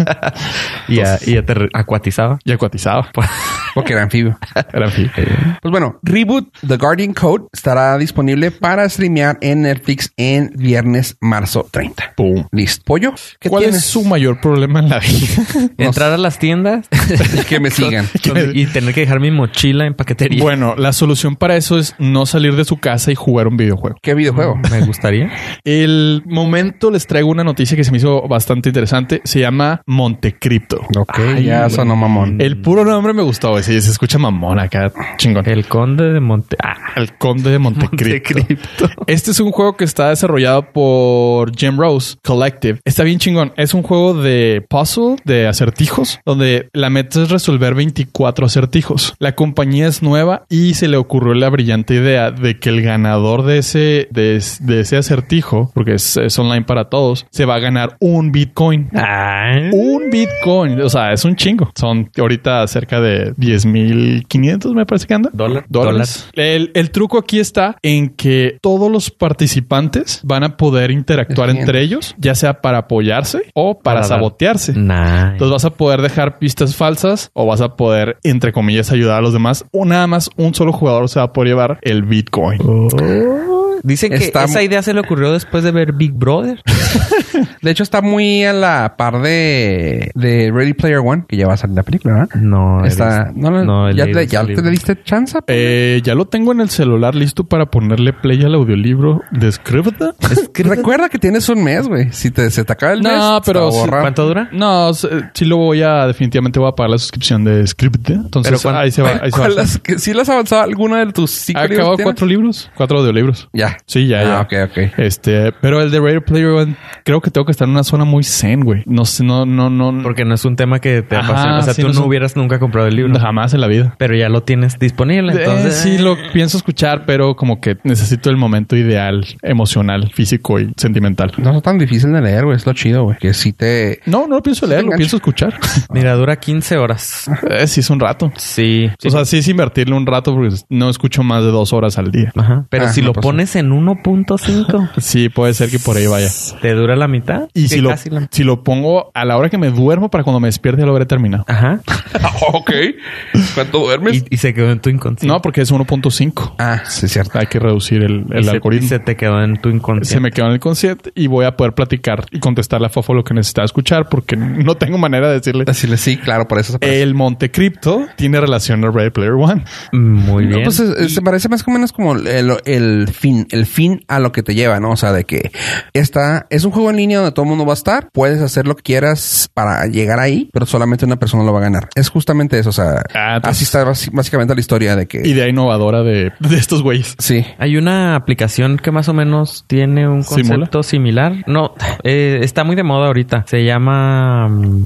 Y, a- y ater- acuatizaba.
y acuatizaba. pues.
Porque era anfibio.
Era anfibio.
Pues bueno, Reboot The Guardian Code estará disponible para streamear en Netflix en viernes, marzo 30.
Pum.
Listo. Pollo, ¿qué
¿Cuál
tienes?
es su mayor problema en la vida?
Entrar a las tiendas
que me sigan.
donde- y tener que dejar mi mochila en paquetería.
bueno, la solución para eso es no salir de su casa y jugar un videojuego.
¿Qué videojuego?
Me gustaría.
El momento les traigo una noticia que se me hizo bastante interesante. Se llama Montecripto.
Ok, ya sonó mamón.
El puro nombre me gustó. güey. Sí, se escucha mamón acá. Chingón.
El conde de Monte... Ah,
El Conde de Montecristo.
Montecripto.
Este es un juego que está desarrollado por Jim Rose Collective. Está bien chingón. Es un juego de puzzle, de acertijos, donde la meta es resolver 24 acertijos. La compañía es nueva y se le ocurrió la brillante idea de que el ganador de ese, de, es- de ese acertijo, porque es, es online para todos, se va a ganar un Bitcoin.
Ah.
Un Bitcoin, o sea, es un chingo. Son ahorita cerca de 10.500, me parece que anda.
Dólar.
Dólares. El, el truco aquí está en que todos los participantes van a poder interactuar
Bien.
entre ellos, ya sea para apoyarse o
Para
para,
dar. Mm.
sabotearse.
Nah.
Entonces vas a poder dejar pistas falsas o vas a poder, entre comillas, ayudar a los demás. O nada más un solo jugador se va a poder llevar el Bitcoin.
Dicen que
Está-
esa idea se le ocurrió después de ver Big Brother.
De hecho, está muy a la par de, de Ready Player One, que ya va a salir la película, ¿verdad?
No, he
Está,
visto.
no, la-
No, he
ya,
leído
te, ya
ese
te
libro.
le diste chance.
Eh, ya lo tengo en el celular listo para ponerle play al audiolibro de Scribd.
Recuerda que tienes un mes, güey. Si te, se te acaba el mes,
No,
te
pero
va a
sí,
borrar.
¿Cuánto dura?
No, s- eh, sí lo voy a definitivamente voy a pagar la suscripción de Script. Entonces
Pero cuan-
ahí se va. Ahí se va.
¿Cuál has- que- ¿Sí le has avanzado alguno de tus cinco
Ha
libros
acabado
que
cuatro libros, cuatro audiolibros.
tienes? Ya.
Sí, ya, ya.
Ah, ok, ok.
Este, pero el de Radio Player One, creo que tengo que estar en una zona muy zen, güey. No sé, no, no, no.
Porque no es un tema que te
Ajá,
apasiona. O sea,
sí,
tú
no
no,
es un-
hubieras nunca comprado el libro.
jamás en la vida.
Pero ya lo tienes disponible. Entonces,
Eh, sí, lo pienso escuchar, pero como que necesito el momento ideal, emocional, físico y sentimental.
No es tan difícil de leer, güey. Es lo chido, güey. Que si te...
No, no lo pienso leer, lo
engancha.
pienso escuchar.
Mira, dura 15 horas.
Eh, sí, es un rato.
Sí.
O sea, sí es invertirle un rato porque no escucho más de dos horas al día.
Ajá. Pero
Ah,
si
no
lo
pasó.
pones en 1.5,
Sí, puede ser que por ahí vaya.
¿te dura la mitad?
Y
Que
si lo,
casi la-
si lo pongo a la hora que me duermo para cuando me despierte ya lo habré terminado.
Ajá.
Ah, ok. ¿Cuánto duermes?
Y, y se quedó en tu inconsciente.
No, porque es 1.5.
Ah, sí, es cierto.
Hay que reducir el,
Y
el
se,
algoritmo.
y se
Se,
te quedó en tu inconsciente.
me quedó en el concierto y voy a poder platicar y contestar la fofo lo que necesitaba escuchar porque no tengo manera de decirle.
Decirle sí, claro, por eso se parece.
El Montecripto tiene relación a Ready Player One.
Muy
No,
bien.
pues es- es- se parece más o menos como el, el fin, el fin a lo que te lleva, ¿no? O sea, de que está, es un juego en línea donde todo el mundo va a estar. Puedes hacer lo que quieras para llegar ahí, pero solamente una persona lo va a ganar. Es justamente eso. O sea,
Ah, entonces-
así está basi- básicamente la historia de que.
Idea innovadora de, de estos güeyes.
Sí.
Hay una aplicación que más o menos tiene un concepto similar. No, eh, está muy de moda ahorita. Se llama mm,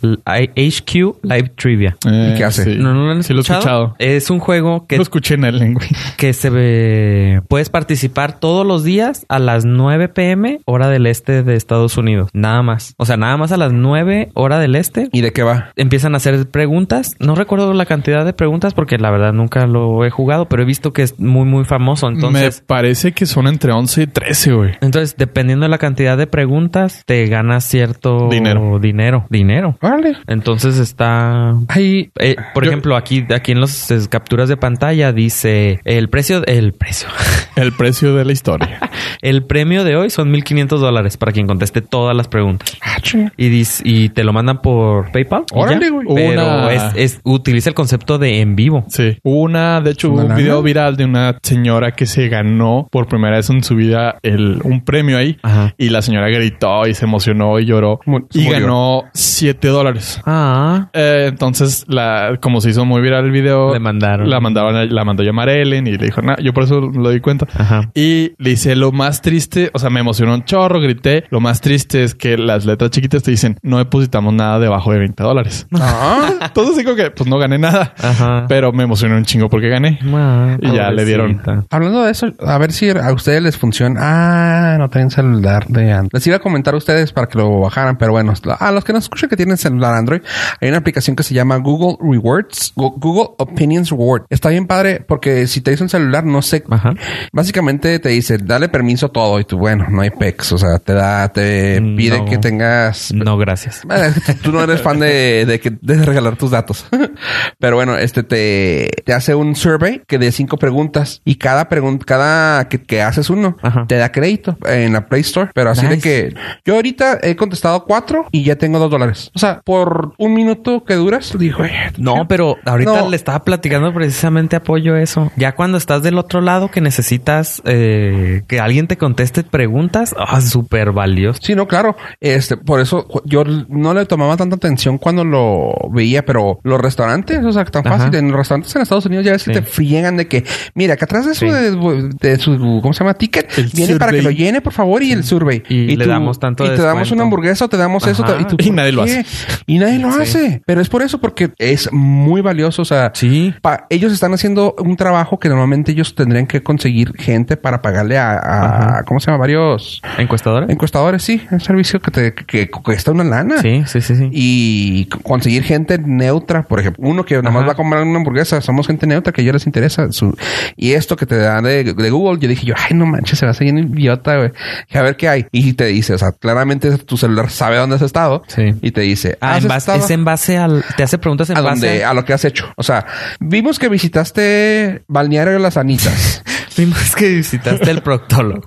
HQ Live Trivia.
Eh,
¿Y qué hace?
sí.
¿No, no lo han
Sí lo he escuchado.
Es un juego que
Lo escuché en el lengua.
que se ve. Puedes participar todos los días a las 9 pm, hora del este de Estados Unidos. Nada más. O sea, nada más a las 9 hora del este.
¿Y de qué va?
Empiezan a hacer preguntas. No recuerdo la cantidad de preguntas porque la verdad nunca lo he jugado, pero he visto que es muy, muy famoso. Entonces.
Me parece que son entre 11 y 13, güey.
Entonces, dependiendo de la cantidad de preguntas, te ganas cierto
Dinero.
dinero, dinero.
Vale.
Entonces está
Ahí.
eh, por ejemplo, aquí, aquí en las eh, capturas de pantalla dice el precio, el precio,
El precio de la historia.
el premio de hoy son 1500 dólares para quien conteste todas las preguntas.
Ah,
Y, dis- y te lo mandan por PayPal. y
Órale,
ya.
güey.
Pero
Una-
es, es- utiliza el concepto de en vivo.
Sí. Hubo una, de hecho, hubo
¿Una
un
lana?
video viral de una señora que se ganó por primera vez en su vida el, un premio ahí.
Ajá.
Y la señora gritó y se emocionó y lloró.
Mu- se
y
murió.
ganó 7 dólares.
Ah,
Eh, entonces, la, como se hizo muy viral el video,
le mandaron.
la mandaban a- la mandó a llamar Ellen y le dijo, no, yo por eso lo di cuenta.
Ah.
Ajá.
Y le hice lo más triste, o sea, me emocionó un chorro, grité. Lo más triste es que las letras chiquitas te dicen, no depositamos nada debajo de 20 dólares.
Ah.
Entonces digo que, pues no gané nada.
Ajá.
Pero me emocionó un chingo porque gané.
Ah,
Y ya le dieron.
pobrecita.
Hablando de eso, a ver si a ustedes les funciona. Ah, no tienen celular de Android. Les iba a comentar a ustedes para que lo bajaran, pero bueno, a los que no escuchan que tienen celular Android, hay una aplicación que se llama Google Rewards, Gu- Google Opinions Reward. Está bien padre porque si te dice un celular, no sé.
Ajá.
Básicamente te dice, dale permiso a todo y tú, bueno, no hay pex. O sea, te da, te pide
No.
que tengas
No, gracias.
bueno, tú no eres fan de, de que- de regalar tus datos. Pero bueno, este te, te hace un survey que de cinco preguntas y cada pregunta, cada que, que haces uno,
Ajá.
te da crédito en la Play Store. Pero así de
Nice.
que yo ahorita he contestado cuatro y ya tengo dos dólares. O sea, por un minuto que duras, "Eh, dijo,
No, pero ahorita
No.
le estaba platicando precisamente apoyo eso. Ya cuando estás del otro lado que necesitas eh, que alguien te conteste preguntas, ah, súper valioso.
Sí, no, claro. Este, por eso ju- yo l- no le tomaba tanta atención cuando lo veía, pero los restaurantes, o sea, tan
Ajá.
fácil. En los restaurantes en Estados Unidos ya ves que
Sí.
te friegan de que, mira, que atrás de su,
Sí.
de, de su ¿cómo se llama? Ticket,
El
viene para que lo
survey.
llene, por favor, y el survey.
Y le damos tanto
Y te damos
descuento.
una hamburguesa o te damos eso.
Ajá.
Y, tú,
Y
¿por
nadie lo
qué?
hace.
Y nadie lo hace. Pero es por eso, porque es muy valioso. O sea,
Sí.
pa- ellos están haciendo un trabajo que normalmente ellos tendrían que conseguir gente para pagarle a, a-
Ajá.
¿cómo se llama? Varios
¿Encuestadora?
Encuestadores, sí. Un servicio que te que, que cuesta una lana.
Sí, sí, sí, sí.
Y c- conseguir gente neutra, por ejemplo, uno que nada más
Ajá.
va a comprar una hamburguesa, somos gente neutra que ya les interesa. su- y esto que te da de, de Google, yo dije yo, ay, no manches, se va a seguir idiota, güey. Dije, a ver qué hay. Y te dice, o sea, claramente tu celular sabe dónde has estado.
Sí.
Y te dice,
Ah,
"Has
en base-
estado
es en base al... Te hace preguntas en
a
base
donde,
al-
a lo que has hecho. O sea, vimos que visitaste Balneario Las Anitas.
Vimos que visitaste el proctólogo.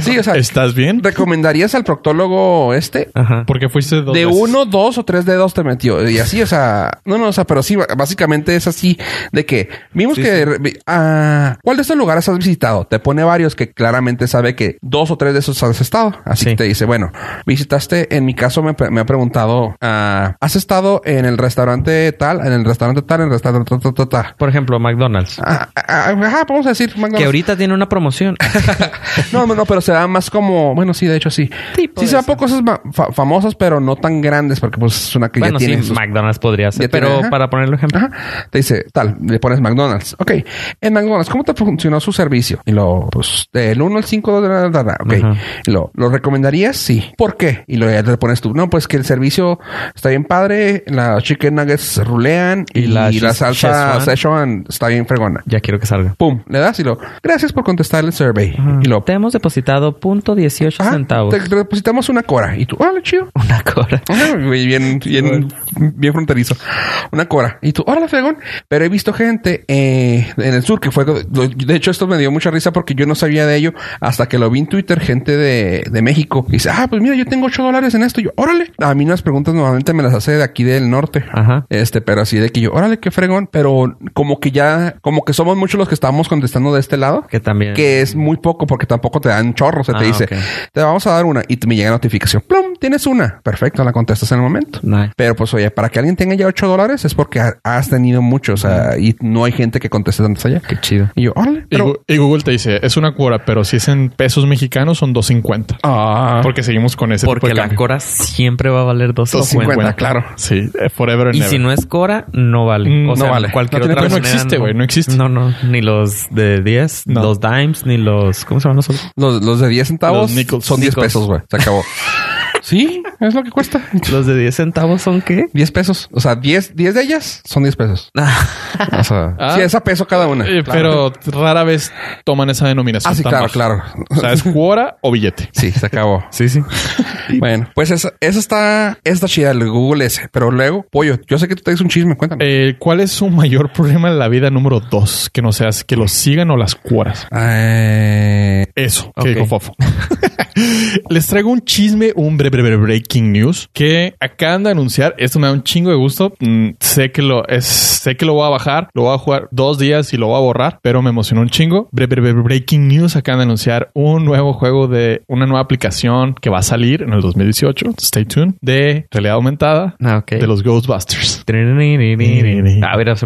sí, o sea,
¿Estás bien?
¿recomendarías al proctólogo este?
Ajá.
Porque fuiste dos
de
veces.
uno, dos o tres dedos te metió. Y así, o sea, no, no, o sea, pero sí, básicamente es así de que vimos
Sí,
que vi- ah, ¿cuál de estos lugares has visitado? Te pone varios que claramente sabe que dos o tres de esos has estado. Así
Sí.
que te dice, bueno, visitaste, en mi caso me, pre- me ha preguntado, ah, ¿has estado en el restaurante tal, en el restaurante tal, en el restaurante tal, tal, tal, tal?
Por ejemplo, McDonald's.
Ah, ah, ah, ajá, vamos a decir, McDonald's.
Que ahorita tiene una promoción.
No, no, no, pero será más como, bueno, sí, de hecho sí. sí, será por cosas ma- fa- famosas, pero no tan grandes, porque pues es una que
bueno,
ya
sí,
tiene sus-
McDonald's podría ser.
ya tiene,
Pero
ajá.
para ponerlo ejemplo.
Ajá. Te dice, tal, le pones McDonald's. Ok. En McDonald's, ¿cómo te funcionó su servicio? Y lo, pues, del 1 al 5, da, da, da, da. ok.
Ajá.
Y lo, ¿lo recomendarías? Sí. ¿Por qué? Y lo ya le pones tú. No, pues que el servicio está bien padre, las chicken nuggets rulean y,
Y la
la,
Shez-
salsa
Szechuan.
Szechuan está bien fregona.
Ya quiero que salga.
Pum, le das y lo, gracias por contestar el survey. Y lo, Ah,
Te hemos depositado punto dieciocho
ajá,
centavos.
te depositamos una cora. Y tú, vale, chido.
Una cora.
Ajá, güey, bien, bien bien fronterizo. Una cobra. Y tú, órale, fregón. Pero he visto gente eh, en el sur que fue. De hecho, esto me dio mucha risa porque yo no sabía de ello hasta que lo vi en Twitter. Gente de, de México y dice, ah, pues mira, yo tengo 8 dólares en esto. Y yo, órale. A mí las preguntas normalmente me las hace de aquí del norte.
Ajá.
Este, pero así de que yo, órale, qué fregón. Pero como que ya, como que somos muchos los que estamos contestando de este lado.
Que también.
Eh.
Que es muy poco porque tampoco te dan chorro. Se
Ah,
te dice,
ok.
te vamos a dar una y te- me llega notificación. Plum, tienes una. Perfecto, la contestas en el momento.
Nice.
Pero pues oye, para que alguien tenga ya 8 dólares es porque ha- has tenido muchos. O sea, y no hay gente que conteste tantos allá.
Qué chido.
Y yo, órale.
Y,
Pero,
Gu- y Google te dice, es una cuora, pero si es en pesos mexicanos son 250.
ah,
Porque seguimos con ese tipo
Porque
de
la
cambio.
Cora siempre va a valer
250,
250.
claro.
Sí, eh, forever and
Y
ever.
si no es Cora, no vale.
Mm,
O
no
sea,
vale.
cualquier
No tiene
otra
precio. No
moneda
existe, güey, no existe.
No, no. Ni los de 10,
No.
los dimes, ni los... ¿Cómo se llaman los otros?
Los, los de 10 centavos
Los nickels.
son 10
Nickels.
pesos, güey. Se acabó. sí, es lo que cuesta.
¿Los de 10 centavos son qué?
10 pesos. O sea, 10, 10 de ellas son 10 pesos. O sea,
Ah.
sí, es a peso cada una.
Eh,
Claro.
Pero rara vez toman esa denominación.
Ah, sí,
tan
claro,
baja.
claro.
O sea, es cuora o billete.
Sí, se acabó.
Sí, sí.
Bueno, pues esa, esa está, esa está chida, el Google S. Pero luego, pollo, yo sé que tú traes un chisme, cuéntame.
Eh, ¿Cuál es su mayor problema en la vida número dos? Que no seas que los sigan o las cuoras.
Eh,
Eso,
Ok.
que dijo Fofo. Les traigo un chisme, un breve, breve breaking news que acaban de anunciar. Esto me da un chingo de gusto. Mm, sé que lo es, sé que lo voy a bajar, lo voy a jugar dos días y lo voy a borrar, pero me emocionó un chingo. Breve, breve breaking news acaban de anunciar un nuevo juego de una nueva aplicación que va a salir en el 2018. Stay tuned de realidad aumentada
Ah, ok. Ah,
de los Ghostbusters.
A ver,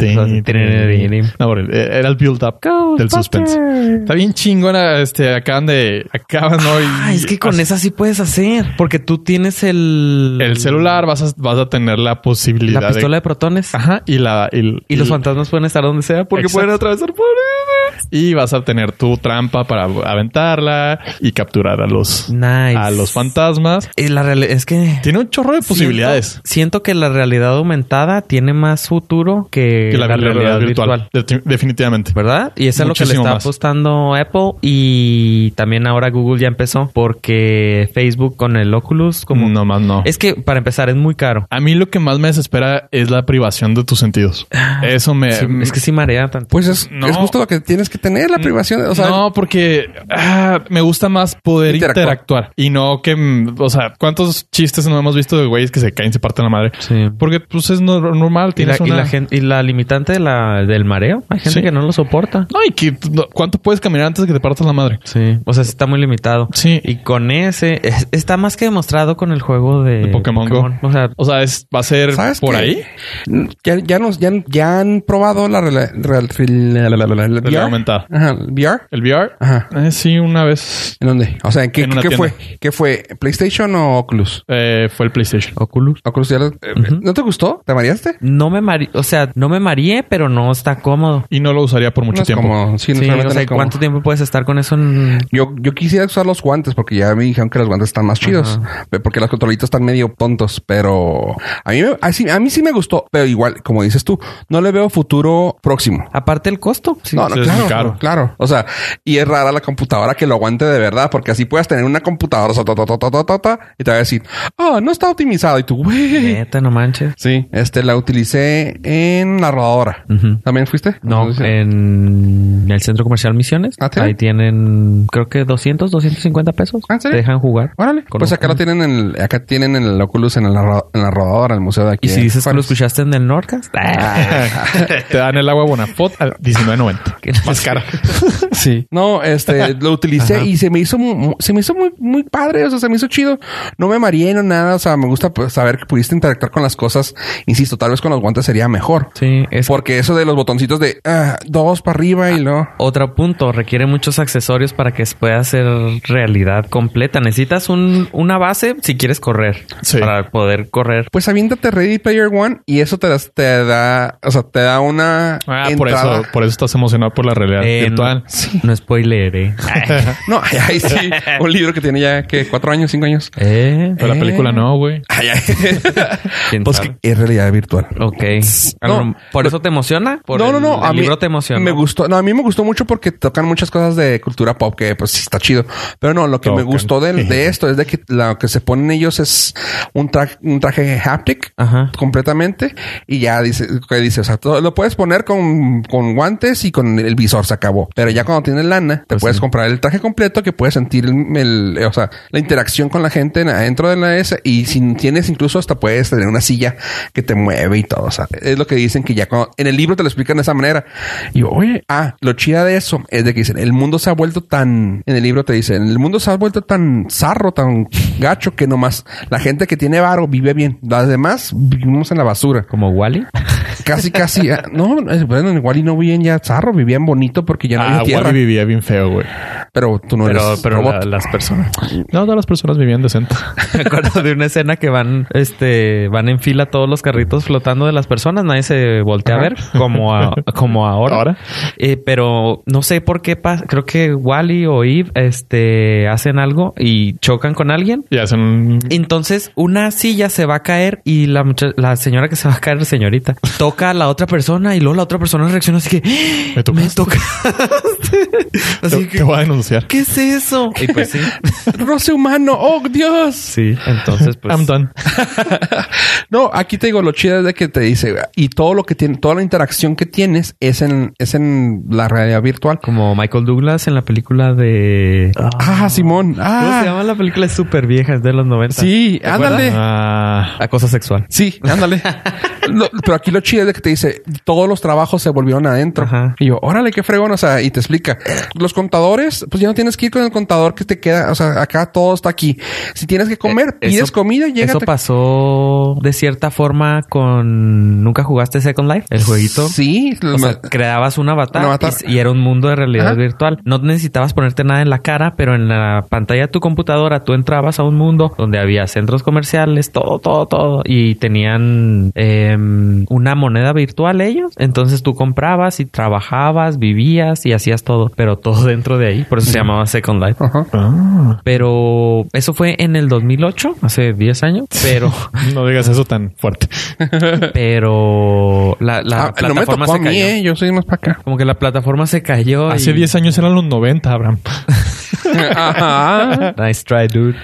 hacemos-
No, pero era el build up del suspense. Está bien chingona, este, acaban de, acaban hoy.
Ah, es que con esa sí puedes hacer. Porque tú tienes el...
el celular vas a, vas a tener la posibilidad
La pistola de protones.
de, ajá, y la, y,
Y los fantasmas pueden estar donde sea porque
Exacto.
pueden atravesar paredes.
y vas a tener tu trampa para aventarla y capturar a los,
Nice.
a los fantasmas.
Y la reali- es que...
Tiene un chorro de posibilidades.
Siento, siento que la realidad aumentada tiene más futuro que,
Que la, realidad, virtual, Deti- definitivamente.
¿Verdad? Y eso es lo que le
Muchísimo
está
más.
apostando Apple y también ahora Google ya empezó porque Facebook con el Oculus como...
no más no.
Es que para empezar es muy caro.
a mí lo que más me desespera es la privación de tus sentidos. Eso me,
Ah, Sí, es que sí marea tanto.
pues es,
No. Mm,
es justo lo que tienes que tener, la privación. O sea,
no, porque ah, me gusta más poder
Interactuar.
interactuar. y no que, mm, o sea, ¿cuántos chistes no hemos visto de güeyes que se caen y se parten la madre?
Sí.
Porque pues es no- normal,
Y la,
tienes
y
una...
la gen- y la limitante de la, del mareo. Hay gente
Sí.
que no lo soporta.
No, y que no, cuánto puedes caminar antes de que te partas la madre.
Sí. O sea, sí está muy limitado.
Sí.
Y con ese... es- está más que demostrado con el juego de...
De Pokémon Go.
O sea...
O sea, es, va a ser
¿Sabes
por
qué? Mm,
ahí.
ya, ya, nos, ya, ya han probado la real- real- la- la- la- la- la-
Realidad
VR.
aumentada.
Ajá, el VR.
El VR.
Ajá.
Eh, sí, una vez
¿En dónde? O sea, ¿en ¿qué,
En una
qué
tienda.
fue? ¿Qué fue? ¿PlayStation o Oculus?
eh, fue el PlayStation.
Oculus.
Oculus ya lo- eh, ¿No te gustó? ¿Te mareaste?
No me mareé, o sea, no me mareé, pero no está cómodo.
Y no lo usaría por mucho
No es
tiempo.
como- sí, no,
Sí,
realmente
o
no
sea,
es como-
¿cuánto tiempo puedes estar con eso en
Yo, yo quisiera usar los guantes porque ya me dijeron que los guantes están más chidos. Pe- Porque los controlitos están medio tontos, pero a mí, me- a, sí- a mí sí me gustó. Pero igual, como dices tú, no le veo futuro próximo.
Aparte el costo. Sí.
no, no,
sí, es
claro,
muy caro.
claro. O sea, y es rara la computadora que lo aguante de verdad, porque así puedes tener una computadora sotototototota, y te va a decir, oh, no está optimizado. Y tú, güey.
Neta, no manches.
Sí, este la utilicé en la rodadora.
Ujú.
¿También fuiste?
Mm. No,
Sí.
en el centro comercial Misiones.
Ah, ¿sí?
Ahí tienen, creo que 200, 250 pesos.
Ah, ¿en
Te
serio?
dejan jugar.
Órale.
Con
Pues acá lo
Oculus.
tienen en el, acá tienen el Oculus en la, ro- en la rodadora, el museo de aquí.
Y si
de
dices que lo
Juárez.
escuchaste en el Nordcast. ah,
te dan el agua Bonafont a 19.90.
que-
Más cara.
Sí. No, este, lo utilicé y se me hizo, mu- mu- se me hizo muy, muy padre. O sea, se me hizo chido. No me mareé no nada. O sea, me gusta pues, saber que pudiste interactuar con las cosas. Insisto, tal vez con los guantes sería mejor.
Sí, es
Porque eso de los botoncitos de ah, dos para arriba y no.
Otro punto, requiere muchos accesorios para que pueda ser realidad completa. Necesitas un, una base si quieres correr.
Sí.
Para poder correr.
Pues aviéntate Ready Player One y eso te, das- te da, o sea, te da una.
Ah, por eso, por eso estás emocionado por por la realidad
Eh, No,
virtual.
¿eh? no spoileré.
No, ay, ay, sí. Un libro que tiene ya, ¿qué? ¿Cuatro años? ¿Cinco años?
Eh,
Pero
Eh.
la película no, güey.
Ah,
Ay, ay.
¿Quién
Pues
sabe?
que es realidad virtual.
Ok.
No,
No, ¿Por eso te emociona? ¿Por
no, no,
el-
no.
El, libro te emociona.
Me gustó. No, a mí me gustó mucho porque tocan muchas cosas de cultura pop que, pues, sí está chido. Pero no, lo que me
Tocan.
gustó del- de, esto es de que lo que se ponen ellos es un, tra- un traje haptic
Ajá.
completamente. Y ya dice, que dice, o sea, todo- lo puedes poner con, con guantes y con el visor, se acabó. Pero ya cuando tienes lana,
Pues
te puedes comprar el traje completo que puedes sentir el, el- o sea, la interacción con la gente en- adentro de la S. Y si tienes incluso hasta puedes tener una silla que te mueve y todo. O sea, es lo que dicen que ya cuando- en el libro te lo explican de esa manera. Y yo, oye, ah, lo chida de eso es de que dicen, el mundo se ha vuelto tan, en el libro te dicen, el mundo se ha vuelto tan zarro, tan gacho que nomás la gente que tiene varo vive bien. Las demás vivimos en la basura.
Como Wally.
Casi, casi. ah, No, es- bueno, igual y no vivían ya zarro, vivían bonito porque ya no
Ah,
había tierra.
Wally vivía bien feo, güey.
Pero tú no
Pero,
eres
pero
robot.
la- las personas.
No, todas las personas vivían decente.
Me acuerdo de una escena que van, este, van en fila todos los carritos flotando de las personas, nadie se voltea a ver, como, a- como ahora.
Ahora.
Eh, pero no sé por qué pasa, creo que Wally o Eve, este, hacen algo y chocan con alguien.
Y hacen un...
Entonces una silla se va a caer y la, mucha- la señora que se va a caer, señorita, toca a la otra persona y luego la otra persona reacciona así que
Me
me
tocaste.
toca.
Te,
así
te
que
voy a denunciar.
¿qué es eso? Y pues sí,
Roce humano, oh Dios.
sí. Entonces pues
I'm done.
No, aquí te digo lo chido es de que te dice y todo lo que tiene, toda la interacción que tienes es en, es en la realidad virtual.
como Michael Douglas en la película de
Ah, Simón.
¿Cómo se
Ah,
llama la película? Es súper vieja, es de los 90.
sí, ándale.
Ah,
Acoso sexual.
Sí, ándale. No, pero aquí lo chido es de que te dice todos los trabajos se volvieron adentro.
Ajá.
Y yo, órale, qué fregón. O sea, y te explica los contadores, pues ya no tienes que ir con el contador que te queda. O sea, acá todo está aquí. Si tienes que comer,
Eh, eso-
pides comida, llega.
Eso pasó de cierta forma con... ¿Nunca jugaste Second Life? El jueguito.
Sí,
O sea, creabas un avatar,
Un avatar.
Y, y era un mundo de realidad
Ajá.
virtual. No necesitabas ponerte nada en la cara, pero en la pantalla de tu computadora tú entrabas a un mundo donde había centros comerciales, todo, todo, todo. Y tenían em, una moneda virtual ellos. Entonces tú comprabas y trabajabas, vivías y hacías todo, pero todo dentro de ahí. Por eso se llamaba Second Life.
Ajá.
Ah,
Pero eso fue en el 2008, hace 10 años. Pero,
no digas eso tan fuerte.
pero la, la
Ah, no me
plataforma
tocó a
se
mí,
cayó.
eh, yo soy más para acá.
Como que la plataforma se cayó.
Hace
y-
10 años eran los 90, Abraham.
Ajá.
Nice try, dude.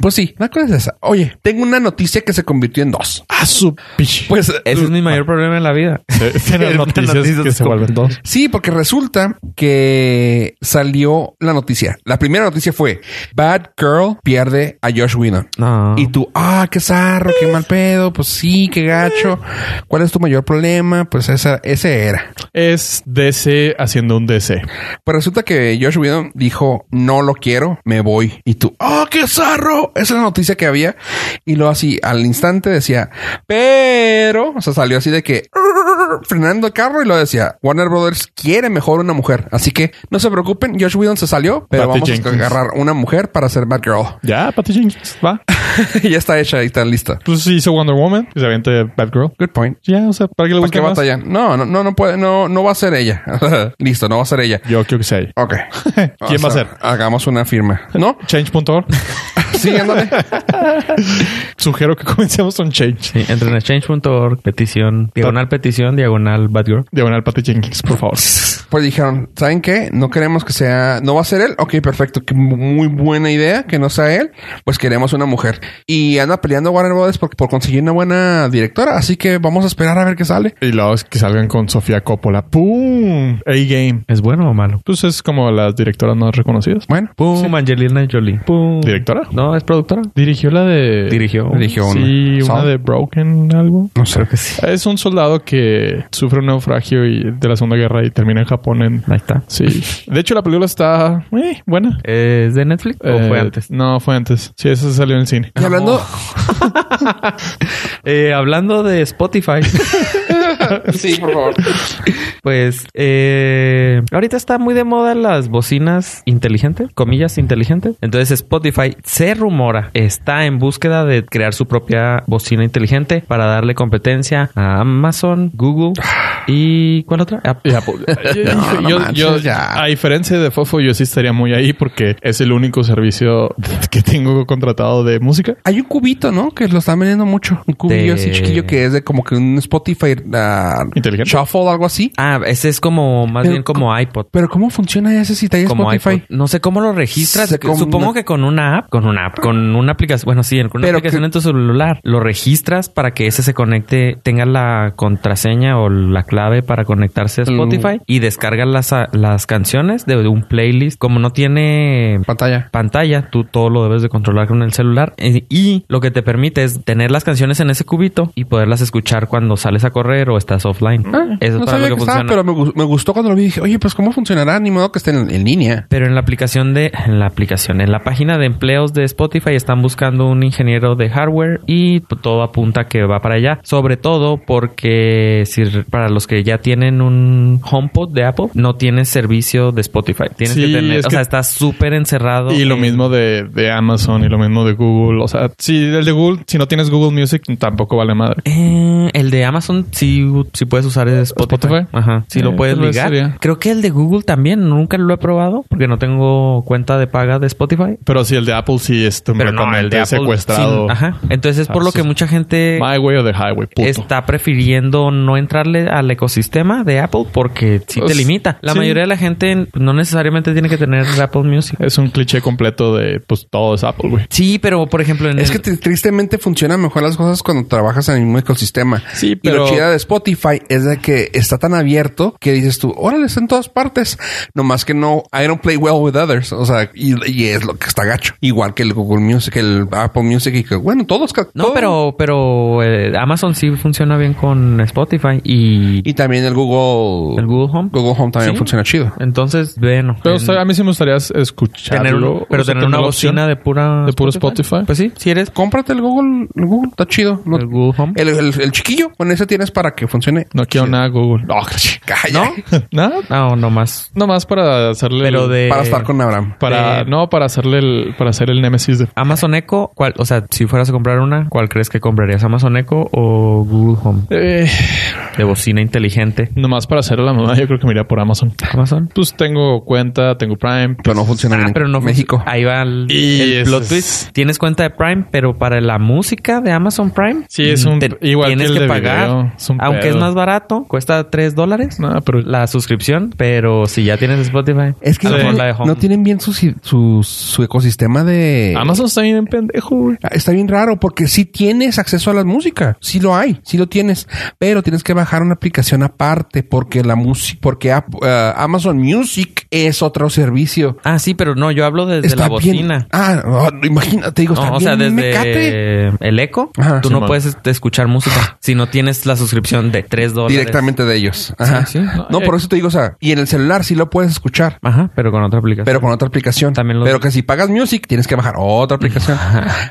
Pues sí, la cosa es esa. Oye, tengo una noticia que se convirtió en dos.
Ah, su pich.
Pues
Ese es mi mayor problema en la vida.
Eran noticias,
noticias
que se
como-
vuelven dos.
Sí, porque resulta que salió la noticia. La primera noticia fue Bad Girl pierde a Josh Whedon.
No.
Y tú, ah, qué zarro, qué mal pedo, pues sí, qué gacho. ¿Cuál es tu mayor problema? Pues esa, ese era.
Es DC haciendo un DC.
Pues resulta que Josh Whedon dijo, no lo quiero, me voy. Y tú, ¡oh, qué zarro! Esa es la noticia que había. Y luego así, al instante decía, pero... O sea, salió así de que... "Arr", Frenando el carro y lo decía, Warner Brothers quiere mejor una mujer. Así que no se preocupen, Josh Whedon se salió, pero
Patty
vamos
Jenkins.
a agarrar una mujer para hacer Batgirl.
Ya, Patty Jenkins, va.
ya está hecha y está lista.
Pues hizo Wonder Woman y se avienta Batgirl.
Good point.
Ya, o sea, ¿para qué le
¿Para qué
busca más?
batallan? No, no, no, no puede, no, no va a ser ella. Listo, no va a ser ella.
Yo creo que sí.
Ok.
¿Quién
O
va
sea,
a ser?
Hagamos una firma. ¿No?
Change.org.
Sí, ándale.
Sugiero que comencemos con Change.
Sí, entren a change.org, petición, diagonal petición, diagonal bad girl.
Diagonal Patty Jenkins, por favor.
Pues dijeron, ¿saben qué? No queremos que sea, no va a ser él. Ok, perfecto. Que muy buena idea que no sea él. Pues queremos una mujer. Y anda peleando Warner Brothers por, por conseguir una buena directora. Así que vamos a esperar a ver qué sale.
Y luego es que salgan con Sofía Coppola. ¡Pum! A-game.
¿Es bueno o malo?
Pues es como las directoras más reconocidas.
Bueno,
Pum, Angelina Jolie. Pum.
¿Directora?
No, es productora.
Dirigió la de... Oh,
Dirigió.
dirigió una.
Sí, una
Sal-
de Broken algo.
No sé.
que sí.
Es un soldado que sufre un naufragio y de la Segunda Guerra y termina en Japón en...
Ahí está.
Sí. De hecho, la película está... eh, buena.
¿Es de Netflix o
Eh,
fue antes?
No, fue antes. Sí, eso salió en el cine.
Y hablando,
Eh, hablando de Spotify.
sí, por favor.
Pues eh, ahorita está muy de moda las bocinas inteligentes, comillas inteligentes. Entonces Spotify se rumora, está en búsqueda de crear su propia bocina inteligente para darle competencia a Amazon, Google y ¿cuál otra? Apple.
Yo-
No, no
yo-
manches,
yo-
ya.
A diferencia de Fofo, yo sí estaría muy ahí porque es el único servicio que tengo contratado de música.
Hay un cubito, ¿no? Que lo están vendiendo mucho. Un
De-
cubillo así chiquillo que es de como que un Spotify ah,
Inteligente.
Shuffle o algo así.
Ah, ese es como más
Pero
bien como iPod.
Pero ¿cómo funciona ese si trae
Como
Spotify?
iPod. No sé cómo lo registras.
Se com-
Supongo que con una app, con una app, con una aplicación. Bueno, sí, con una
Pero
aplicación
que-
en tu celular. Lo registras para que ese se conecte, tenga la contraseña o la clave para conectarse a
Mm.
Spotify y descargas las, las canciones de, de un playlist. Como no tiene
Pantalla.
pantalla, tú todo lo debes de controlar con el celular eh, y lo que te permite es tener las canciones en ese cubito y poderlas escuchar cuando sales a correr o estás offline. Eso es
Ah, no
para lo
sabía
que
que estaba,
funciona.
pero me, gu- me gustó cuando lo vi. Dije, oye, pues ¿cómo funcionará? Ni modo que esté en, en línea.
Pero en la aplicación de en la aplicación, en la página de empleos de Spotify están buscando un ingeniero de hardware y p- todo apunta que va para allá, sobre todo porque si r- para los que ya tienen un HomePod de Apple no tienes servicio de Spotify, tienes
Sí,
que tener,
es
o
que-
sea, estás súper encerrado.
Y lo
en-
mismo de, de Amazon y lo mismo de Google. O sea, si el de Google, si no tienes Google Music, tampoco vale madre.
Eh, el de Amazon sí, sí puedes usar el Spotify.
¿Spotify?
Ajá. Sí,
Eh,
lo puedes
tal vez
ligar.
sería.
Creo que el de Google también. Nunca lo he probado porque no tengo cuenta de paga de Spotify.
Pero si el de Apple sí es
Pero no, el de Apple,
secuestrado. Ah,
sí, ajá. Entonces es por lo que mucha gente
My way o the highway, puto.
está prefiriendo no entrarle al ecosistema de Apple porque sí te
Pues,
limita. La
sí.
mayoría de la gente no necesariamente tiene que tener Apple Music.
Es un cliché completo de pues todo es Apple, güey.
Sí, pero por ejemplo en
Es
el-
que te- tristemente funcionan mejor las cosas cuando trabajas en el mismo ecosistema.
Sí,
Y
pero-
lo chida de Spotify es de que está tan abierto que dices tú, órale, está en todas partes. Nomás que no, I don't play well with others. O sea, y, y es lo que está gacho. Igual que el Google Music, el Apple Music y que, bueno, todos. ca-
no,
todo.
pero pero eh, Amazon sí funciona bien con Spotify y
Y también el Google.
el Google Home.
Google Home también
Sí.
funciona chido.
Entonces, bueno.
Pero
en-
o sea, a mí sí me gustaría escucharlo.
tener un- pero
o sea,
tener una
la opción.
bocina de pura
de puro Spotify.
Pues sí, si eres
Cómprate el Google. El Google está chido. No-
el Google
Eh,
Home.
el, el- el chiquillo. Con ese tienes para que funcione.
No quiero nada Google. No,
Calla.
nada.
No, Ah, no más.
Nomás para hacerle...
Pero
el-
de
Para estar con Abraham.
Para,
de-
No, para hacerle el... Para hacer el Nemesis de...
Amazon Echo, ¿cuál, o sea, si fueras a comprar una, ¿cuál crees que comprarías? ¿Amazon Echo o Google Home?
Eh,
De bocina inteligente.
nomás para hacerle la mamá, yo creo que me iría por Amazon.
Amazon.
Pues tengo cuenta, tengo Prime.
Pero no funciona
Ah,
en
pero no.
México.
Ahí va el,
Y
el
eso
plot
es-
twist. Tienes cuenta de Prime, pero para la música de Amazon Prime. mm,
Sí, es un- igual
tienes
que
que,
el de
pagar.
video, es un
aunque
pedo.
es más barato, cuesta 3 dólares
Nada, pero...
la suscripción, pero si ya tienes Spotify,
Es que
a
no,
lo mejor la de Home. Ah,
no tienen bien su, su, su ecosistema de... Ah,
Amazon está bien pendejo, güey.
Está bien raro porque sí tienes acceso a la música. Sí lo hay, sí lo tienes. Pero tienes que bajar una aplicación aparte porque la música... Porque App- eh, Amazon Music es otro servicio.
Ah, sí, pero no, yo hablo desde la
bien...
bocina.
Ah, no, imagínate. Digo, está
No, o sea,
bien
desde
mecate.
el eco,
Ajá,
tú
sí,
no
man.
puedes este, escuchar
Ah.
música si no tienes la suscripción de 3 dólares.
Directamente de ellos. Ajá.
Sí, eh. sí.
No, por eso te digo, o sea, y en el celular sí lo puedes escuchar.
Ajá, pero con otra aplicación.
Pero con otra aplicación.
También lo-
Pero que si pagas music, tienes que bajar otra aplicación.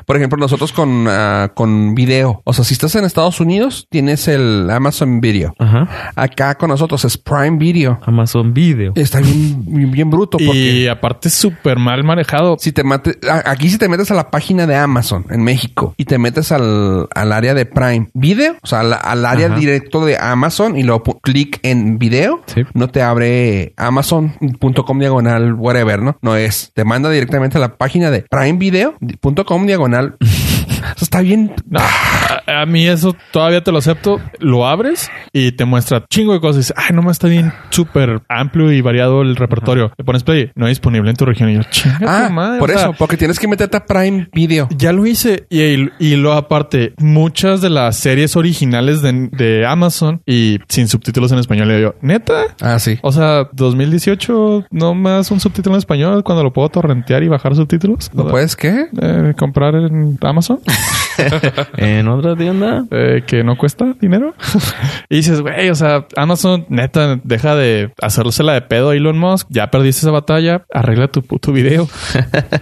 Por ejemplo, nosotros con, ah, con video. O sea, si estás en Estados Unidos, tienes el Amazon Video.
Ajá.
Acá con nosotros es Prime Video.
Amazon Video.
Está bien, bien, bien bruto porque
Y aparte es súper mal manejado.
si te mate, a- aquí si te metes a la página de Amazon en México y te metes al, al área de Prime Video, o sea, al, al área
Ajá.
directo de Amazon y luego pu- clic en video,
Sí.
no te abre amazon.com diagonal whatever, ¿no? No es, te manda directamente a la página de primevideo.com diagonal. Eso está bien.
No, a, a mí eso todavía te lo acepto. Lo abres y te muestra chingo de cosas. Y dices, ay, no está bien súper amplio y variado el repertorio. Le pones play, no disponible en tu región. Y yo, chinga tu
Ah,
madre,
por
o sea,
eso, porque tienes que meterte a Prime Video.
Ya lo hice. Y, y, y lo aparte, muchas de las series originales de, de Amazon y sin subtítulos en español. Le digo, neta.
Ah, sí.
O sea, 2018, no más un subtítulo en español cuando lo puedo torrentear y bajar subtítulos.
¿No puedes qué?
Eh, comprar en Amazon.
en otra tienda.
eh, que no cuesta dinero. y dices, güey, o sea, Amazon, neta, deja de hacérsela de pedo a Elon Musk. Ya perdiste esa batalla, arregla tu puto video.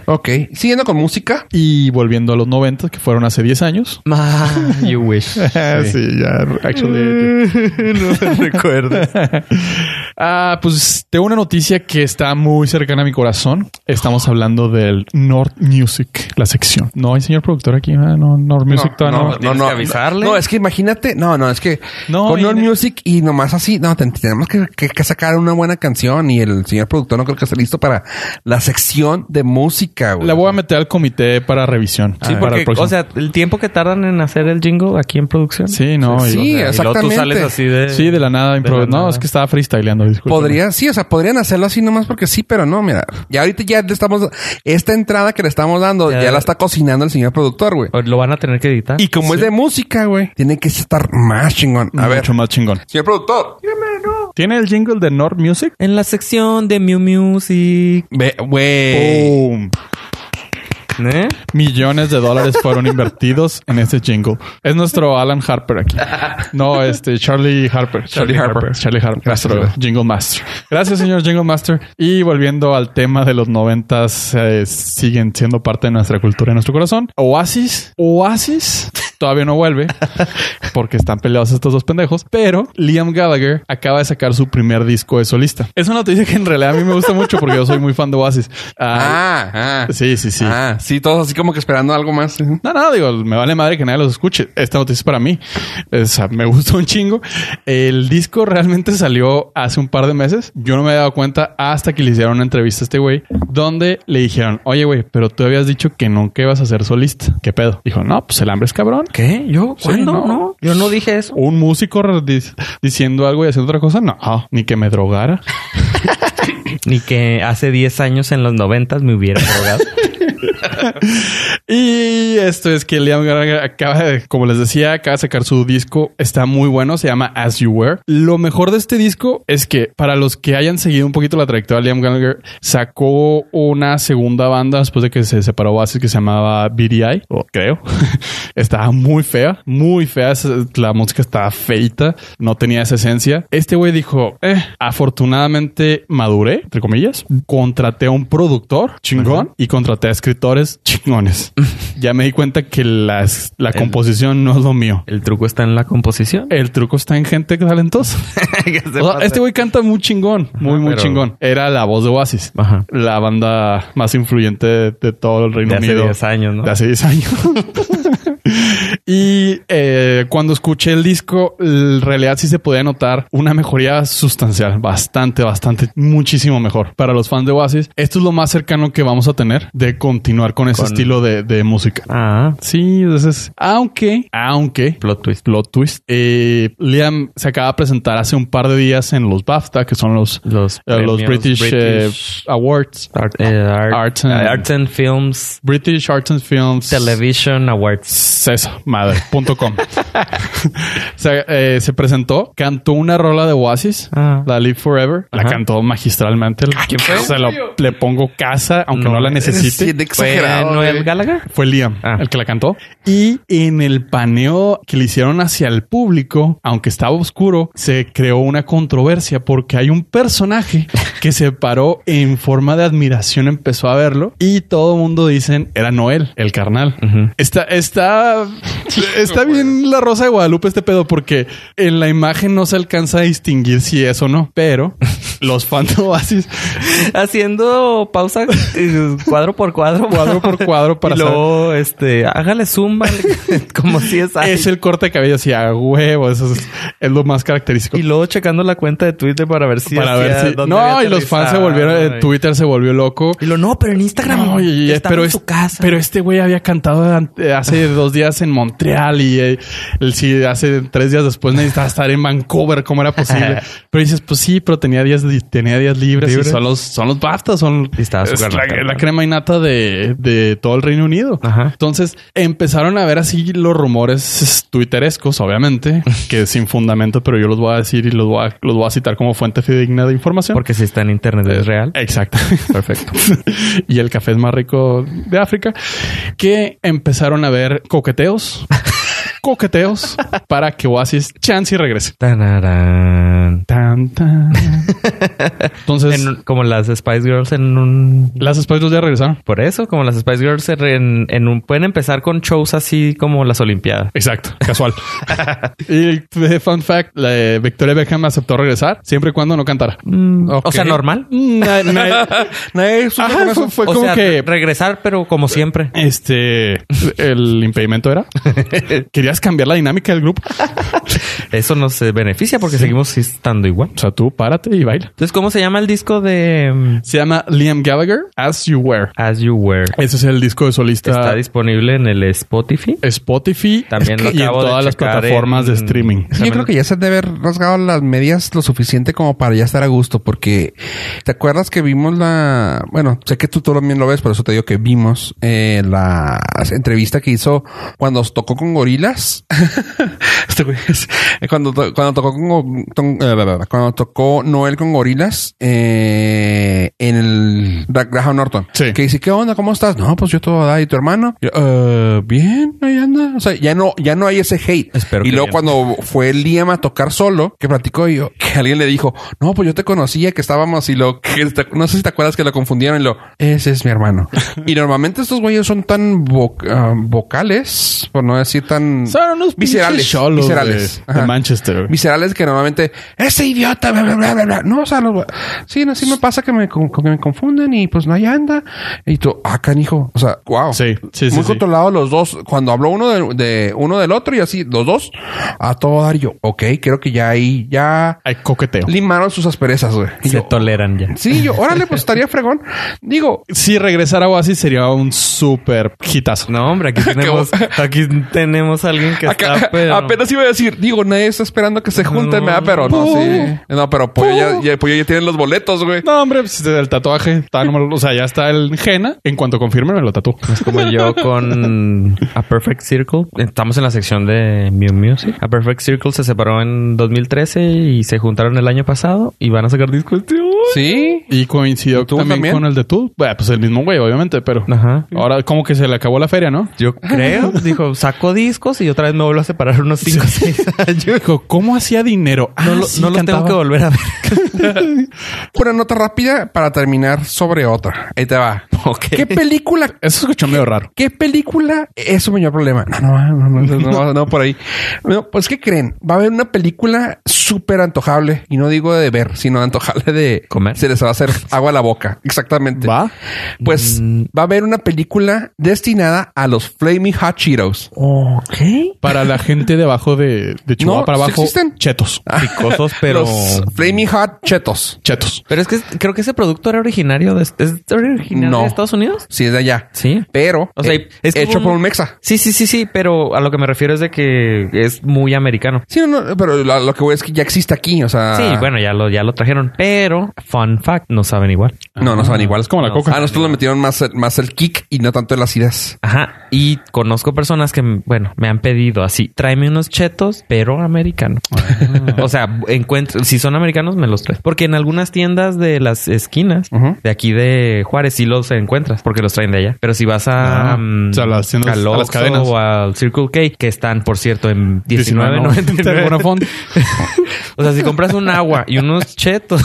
Ok. Siguiendo con música.
y volviendo a los 90, que fueron hace 10 años.
you wish.
sí, ya, actually.
Recuerda.
Ah, pues tengo una noticia que está muy cercana a mi corazón. Estamos hablando del North Music, la sección. No hay señor productor aquí, ¿verdad? no, North Music todavía no.
tienes que avisarle.
No, es que imagínate. No, no, es que
No,
con
y-
All Music y nomás así. No, ten- tenemos que, que- que sacar una buena canción y el señor productor no creo que esté listo para la sección de música, güey.
La voy a meter al comité para revisión.
Sí,
Ah, para
porque,
el próximo.
o sea, el tiempo que tardan en hacer el jingle aquí en producción.
sí, no. y-
O
Sí,
sea, y luego tú
exactamente.
sales así de.
Sí, de la nada. impro-
la
no,
nada.
es que estaba freestyleando. discúlpame.
Podría, sí, o sea, podrían hacerlo así nomás porque sí, pero no, mira. Ya ahorita ya le estamos, esta entrada que le estamos dando,
Ya.
ya, la está cocinando el señor productor, güey.
O Lo van a tener que editar.
Y como es de música, güey, tiene que estar más chingón. A ver,
Mucho más chingón.
señor productor.
¿Tiene el jingle de North Music?
En la sección de Mew Music.
Ve- Güey.
Boom.
¿Eh?
Millones de dólares fueron invertidos en ese jingle. Es nuestro Alan Harper aquí. No, este Charlie Harper.
Charlie Harper.
Charlie Harper. nuestro jingle Master. Gracias, señor Jingle Master. Y volviendo al tema de los noventas, eh, siguen siendo parte de nuestra cultura y nuestro corazón. Oasis. Oasis. Todavía no vuelve porque están peleados estos dos pendejos. Pero Liam Gallagher acaba de sacar su primer disco de solista. Es una noticia que en realidad a mí me gusta mucho porque yo soy muy fan de Oasis. Ah,
Ah, ah.
Sí, sí, sí.
Ah, sí, todos así como que esperando algo más.
No, no, digo, me vale madre que nadie los escuche. Esta noticia es para mí. O sea, me gustó un chingo. El disco realmente salió hace un par de meses. Yo no me había dado cuenta hasta que le hicieron una entrevista a este güey, donde le dijeron, oye, güey, pero tú habías dicho que nunca ibas a ser solista. ¿Qué pedo? Dijo, no, pues el hambre es cabrón.
¿Qué? ¿Yo?
Sí,
¿Cuándo?
no.
no. Yo no dije eso.
Un músico di- diciendo algo y haciendo otra cosa, no, ni que me drogara.
Ni que hace 10 años en los 90 me hubiera drogado.
Y esto es que Liam Gallagher acaba de, como les decía, acaba de sacar su disco. Está muy bueno, se llama As You Were. Lo mejor de este disco es que para los que hayan seguido un poquito la trayectoria de Liam Gallagher, sacó una segunda banda después de que se separó Oasis que se llamaba BDI, o creo. estaba muy fea, muy fea. Esa- La música estaba feita, no tenía esa esencia. Este güey dijo, eh, afortunadamente maduré, entre comillas. Contraté a un productor chingón y contraté a escritores chingones. ya me di cuenta que las- la composición no es lo mío.
El truco está en la composición.
El truco está en gente talentosa. O sea, este güey canta muy chingón, muy, muy
pero-
chingón. Era la voz de Oasis,
Ajá.
la banda más influyente de, de todo el Reino
De hace
Unido.
10 años, ¿no?
De hace 10 años. y eh, cuando escuché el disco, en realidad sí se podía notar una mejoría sustancial, bastante, bastante, muchísimo mejor. Para los fans de Oasis, esto es lo más cercano que vamos a tener de continuar con ese
Con-
estilo de, de música.
Ah,
Sí, entonces, aunque, aunque
plot twist.
plot twist. Eh, Liam se acaba de presentar hace un par de días en los BAFTA, que son los,
Los,
eh, los
premios
British, eh, Awards.
Art- eh, Art-
Arts and-
eh, Arts and Films
British Arts and Films.
Television Awards.
Eso, madre, punto com. se, eh, se presentó, cantó una rola de Oasis,
Ah.
la Live Forever, la
Ajá.
cantó magistralmente.
¿Quién fue?
Se lo- le pongo casa, aunque no,
No, eh,
la necesite.
Sí, de exagerado.
¿Fue Noel
güey.
Gallagher?
Fue Liam
Ah.
el que la cantó. Y en el paneo que le hicieron hacia el público, aunque estaba oscuro, se creó una controversia porque hay un personaje que se paró en forma de admiración, empezó a verlo y todo el mundo dicen era Noel, el carnal.
Ujú.
Está, está, está bien la Rosa de Guadalupe este pedo porque en la imagen no se alcanza a distinguir si es o no, pero los fans de Oasis
Haciendo pausa eh, cuadro por cuadro.
cuadro por cuadro para
y
saber-
luego, este, hágale zoom, vale, como si es ahí.
Es el corte de cabello así a huevo. Eso es, es lo más característico.
Y luego checando la cuenta de Twitter para ver si...
para ver
hacía-
si.
dónde
No,
había
y los fans se volvieron.
aterrizado,
En
y-
Twitter se volvió loco.
Y lo no, pero en Instagram
No, y- y-
estaba
pero
en
es-
su casa.
Pero este güey había cantado ante- hace dos días en Montreal y eh, el sí hace tres días después necesitaba estar en Vancouver, ¿cómo era posible? Pero dices, pues sí, pero tenía días, li- tenía días libres,
Libres.
y son los, son los BAFTA, son
Y estaba
es
súper
la,
nata.
la crema y nata de, de todo el Reino Unido.
Ajá.
Entonces empezaron a ver así los rumores twitterescos, obviamente, que sin fundamento, pero yo los voy a decir y los voy a, los voy a citar como fuente fidedigna de información.
Porque si está en internet es real.
Exacto. Perfecto. y el café es más rico de África. Que empezaron a ver coqueteos. coqueteos para que Oasis chance y regrese.
Tanarán.
Tan, tan. Entonces,
En un- como las Spice Girls en un...
las Spice ya regresaron.
Por eso, como las Spice Girls en, en un... Pueden empezar con shows así como las Olimpiadas.
Exacto, casual. y eh, fun fact, la, eh, Victoria Beckham aceptó regresar siempre y cuando no cantara.
Mm, O sea, normal.
Na- na-
Nadie supo con
Ajá,
eso.
o
fue, fue Pues como
sea,
que
regresar, pero como siempre.
este el impedimento era querías cambiar la dinámica del grupo.
Eso nos eh, beneficia porque seguimos estando igual.
O sea, tú párate y baila.
Entonces, ¿cómo se llama el disco de mm,
Se llama Liam Gallagher As You Were.
As You Were?
Ese es el disco de solista
Está disponible en el Spotify.
Spotify
También lo
y en
acabo de
todas las
checar
plataformas de
en-
streaming.
Sí, Yo creo que ya se debe haber rasgado las medias lo suficiente como para ya estar a gusto, porque te acuerdas que vimos la. Bueno, sé que tú también lo ves, por eso te digo que vimos eh, la entrevista que hizo cuando tocó con gorilas. Este güey es- cuando, to- cuando tocó con, go- ton- eh, bla, bla, bla. cuando tocó Noel con gorilas eh, en el Gra- Graham Norton.
Sí.
Que dice, ¿qué onda? ¿Cómo estás? No, pues yo todo da y tu hermano. Yo, "Eh, bien, ahí anda. O sea, ya no, ya no hay ese hate.
Espero
y
que
luego
bien.
cuando fue Liam a tocar solo, que platicó y yo, que alguien le dijo, no, pues yo te conocía, que estábamos y lo que te- no sé si te acuerdas que lo confundieron y lo, ese es mi hermano. y normalmente estos güeyes son tan vo- ah, vocales, por no decir tan
Son unos pinches
viscerales,
cholos
viscerales.
de- de
Ajá.
Manchester, güey.
Viscerales que normalmente, ese idiota, bla, bla, bla, bla, bla. No, o sea, los- sí, no, sí me pasa que me, con- que me confunden y pues no ahí anda. Y tú, ah, canijo. O sea, wow.
Sí, sí, sí,
Muy
sí.
controlado los dos. Cuando habló uno de, de- uno del otro y así, los dos, a todo dar Y yo. Ok, creo que ya ahí, ya
Hay coqueteo.
limaron sus asperezas, güey. Y
Se
yo,
toleran ya.
Sí, yo, órale, pues estaría fregón. Digo,
Si regresara Oasis sería un súper hitazo.
No, hombre, aquí tenemos, aquí tenemos a alguien que
Acá-
está, pero...
Apenas iba a decir, digo, nadie está esperando que se junten,
No.
¿verdad? Pero no, sí. No, pero pues ya, ya- pues, ya tienen los boletos, güey.
No, hombre, pues, el tatuaje está normal. O sea, ya está el Jena. En cuanto confirme, me lo tatúo.
Es como yo con A Perfect Circle. Estamos en la sección de Mew Music. A Perfect Circle se separó en 2013 y se juntaron el año pasado y van a sacar discos. este año.
Sí.
Y coincidió
¿Tú
también,
también?
con el de tú. Bueno, pues el mismo güey, obviamente, pero
Ajá.
ahora como que se le acabó la feria, ¿no?
Yo creo, dijo, saco discos y otra vez me vuelvo a separar unos 5 o 6 años.
Dijo, ¿cómo hacía dinero? Ah,
No, lo,
sí,
no los
cantaba.
tengo que volver a ver.
Una nota rápida para terminar sobre otra. Ahí te va. Este
Ok.
¿Qué película?
Eso escuchó medio raro.
¿Qué película E-, es su mayor problema? No, no, no, no, no, no, no, por ahí. No, pues, ¿qué creen? Va a haber una película súper antojable. Y no digo de ver, sino antojable de
Comer.
Se les va a hacer agua a la boca. Exactamente.
Va.
Pues
Mm.
va a haber una película destinada a los Flaming Hot Cheetos.
Para la gente debajo de, de Chihuahua
No,
para
sí
abajo.
existen. Ah.
Chetos.
Picosos, pero...
Los Flaming Hot Chetos.
Chetos.
Pero es que creo que ese producto era originario de... ¿Es originario
No.
de Estados Unidos?
Sí, es de allá.
Sí.
Pero
O sea,
eh,
es como
hecho
un-
por un mexa.
Sí, sí, sí, sí, pero a lo que me refiero es de que es muy americano.
Sí, no, no, pero la- lo que voy es que ya existe aquí, o sea...
Sí, bueno, ya lo, ya lo trajeron, pero fun fact, no saben igual.
No, no
Ah,
saben igual.
Es como la
No,
coca.
A nosotros le metieron más, el- más el kick y no tanto las ideas.
Ajá, y conozco personas que, bueno, me han pedido así, tráeme unos chetos, pero americano. o sea, encuentro, si son americanos, me los traes. Porque en algunas tiendas de las esquinas,
Ujú.
de aquí de Juárez, sí los encuentras, porque los traen de allá. Pero si vas a...
Ah,
mm,
o sea, las tiendas-
al
a las
Oxxo
cadenas.
O al Circle K, que están, por cierto, en 19.99.
De alguna forma.
O sea, si compras un agua y unos chetos,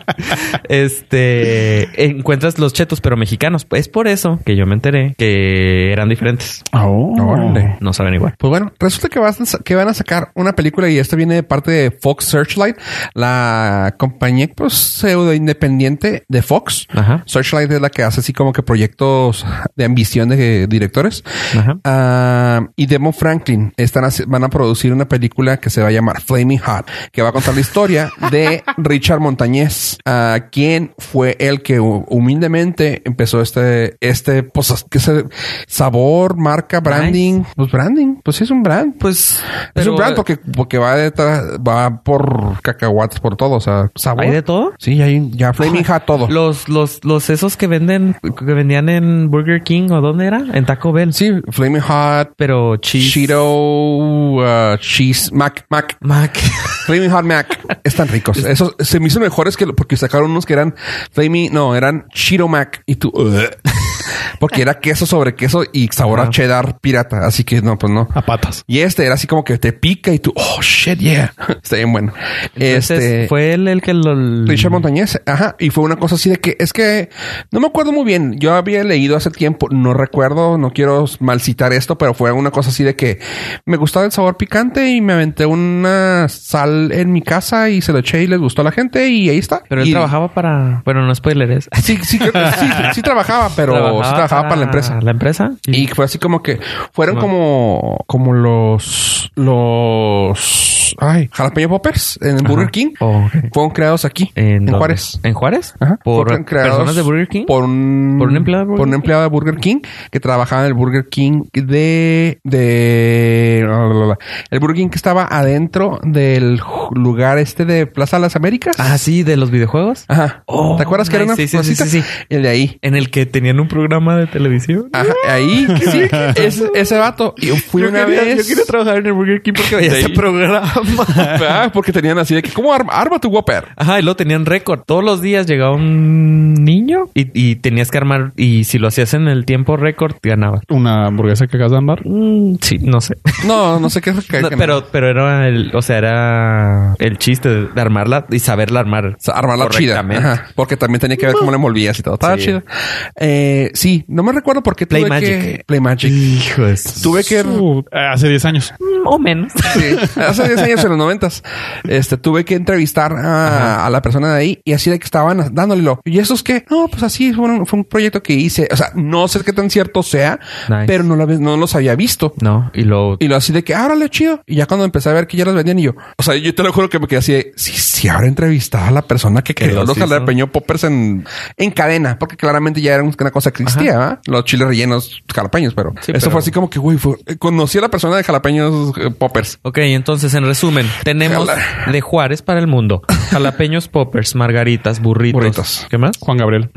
este, encuentras los chetos, pero mexicanos. Es por eso que yo me enteré que eran diferentes.
Oh. Ah,
Órale.
No saben igual.
Pues bueno, resulta que, vas a sa- que van a sacar una película y esto viene de parte de Fox Searchlight, la compañía pues, pseudo independiente de Fox.
Ajá.
Searchlight es la que hace así como que proyectos de ambición de directores.
Ajá.
Ah, y Demo Franklin están haci- van a producir una película que se va a llamar Flaming Hot. Bob, que va a contar la historia de Richard Montañez, a quien fue el que hu- humildemente empezó este, este, pues, ¿qué se- sabor, marca, branding. Pues branding, pues sí es un brand.
Pues
es
pero,
un brand porque, porque va detrás, va por cacahuates, por todo, o sea, sabor.
¿Hay de todo?
Sí, hay, ya Flaming Hot todo.
Los, los, los esos que venden, que vendían en Burger King o dónde era? En Taco Bell.
Sí, Flaming Hot,
Pero cheese.
Cheeto, uh, cheese, Mac, Mac,
Mac.
Flaming Hot Mac. Están ricos. Esos se me hizo mejores que lo- porque sacaron unos que eran Flaming, no, eran Cheeto Mac y tú, "Ugh". porque era queso sobre queso y sabor a cheddar pirata. Así que no, pues no.
Ah.
A patas.
Y este era así como que te pica y tú, oh shit, yeah. Está bien bueno.
Entonces,
este
fue él el que lo.
Richard Montañez, ajá, y fue una cosa así de que es que no me acuerdo muy bien. Yo había leído hace tiempo, no recuerdo, no quiero mal citar esto, pero fue una cosa así de que me gustaba el sabor picante y me aventé una sal en mi casa y se lo eché y les gustó a la gente y ahí está.
Pero él
Y-
trabajaba para. Bueno, no spoilers.
Sí, sí, creo que sí, sí trabajaba, pero sí trabajaba para la empresa.
La empresa.
Y fue así como que fueron como, como los, los, ay, jalapeño poppers en el Burger King.
Oh, ok.
Fueron creados aquí en,
dónde?
Juárez.
¿En Juárez?
Ajá. Fueron
Por
creados
personas de Burger King.
Por un,
¿Por un empleado de Burger
por un empleado de Burger King que trabajaba en el Burger King de, de, la, la, la, la. el Burger King que estaba adentro del ju- lugar este de Plaza de las Américas.
Ah, sí, de los videojuegos.
Ajá.
Oh,
¿Te acuerdas que era una
nice. Sí, sí, sí,
cosita?
sí, sí.
El de ahí.
En el que tenían un programa de televisión.
Ajá, ahí, sí, ese, ese vato. Y Ah, fui una vez.
trabajar en el Burger King porque veía
De ahí.
programa.
Ah, porque tenían así de que, ¿cómo arma, arma tu Whopper?
Ajá, y luego tenían récord. Todos los días llegaba un niño y, y tenías que armar. Y si lo hacías en el tiempo récord, ganabas.
Una hamburguesa que acabas de andar.
Mm, sí, no sé.
No, no sé qué es.
No, pero, pero era el, o sea, era el chiste de, de armarla y saberla armar.
Armarla chida.
correctamente.
Ajá, porque también tenía que ver cómo la envolvías y todo. Estaba
Sí.
chido. Eh, sí, no me recuerdo por qué
Play
tuve que...
Magic.
Play Magic.
Hijo de
Tuve que...
su- eh, hace 10 años.
Mm, O menos.
Sí, hace 10 años en los noventas. Este, tuve que entrevistar a, a la persona de ahí y así de que estaban dándole lo. ¿Y eso es que No, pues así fue un, fue un proyecto que hice. O sea, no sé qué tan cierto sea,
Nice.
pero no, lo había- no los había visto.
No, y luego
Y lo así de que, ah, órale, chido. Y ya cuando empecé a ver que ya los vendían y yo, o sea, yo te lo juro que me quedé así de, sí, sí, habrá entrevistado a la persona que creó
los
los
hizo.
jalapeño poppers en, en cadena, porque claramente ya era una cosa que existía, ¿verdad? Los chiles rellenos jalapeños, pero
Sí,
eso
pero-
fue así como que, güey, fue- eh, conocí a la persona de jalapeños eh, poppers.
Ok, entonces en resumen, tenemos
Jala.
de Juárez para el mundo. Jalapeños poppers, margaritas, burritos.
Burritos.
¿Qué más?
Juan Gabriel.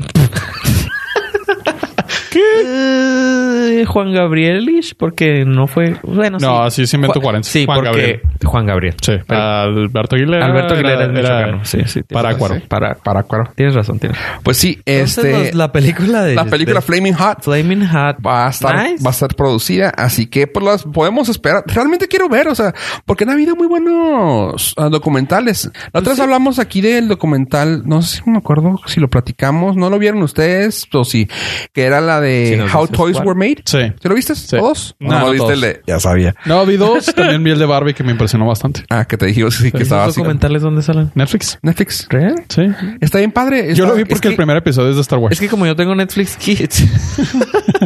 Eh, Juan Gabrielish, porque no fue. Bueno,
No,
sí.
sí, sí inventó
Ju-
40.
Sí,
Juan
porque
Gabriel.
Juan Gabriel.
Sí.
Pero-
Alberto Aguilera.
Alberto Aguilera
era-
es michoacano.
era-
Sí, sí. tienes
Parácuaro.
razón. Para,
Para cuero.
Tienes razón, tienes.
Pues sí,
Entonces,
este,
los- la película de.
la película
de-
Flaming Hot
Flaming Hot.
va a estar,
Nice.
va a estar producida. Así que pues las podemos esperar. Realmente quiero ver, o sea, porque han habido muy buenos ah, documentales. La otra vez hablamos aquí del documental, no sé si me acuerdo si lo platicamos, no lo vieron ustedes o si, que era la
Si
de
nos
How
dices
Toys
cuál.
Were Made.
Sí.
¿Te lo viste? ¿Todos?
No, no
viste
todos.
el de- Ya sabía.
No, vi dos. También vi el de Barbie que me impresionó bastante.
Ah, que te dije sí, que
¿Esos
estaba así.
documentales dónde salen?
Netflix.
Netflix.
¿Real?
Sí.
Está bien padre.
Yo
Está-
lo vi
es
porque el
que-
primer episodio es de
Pues-
Star Wars.
Es que como yo tengo Netflix Kids.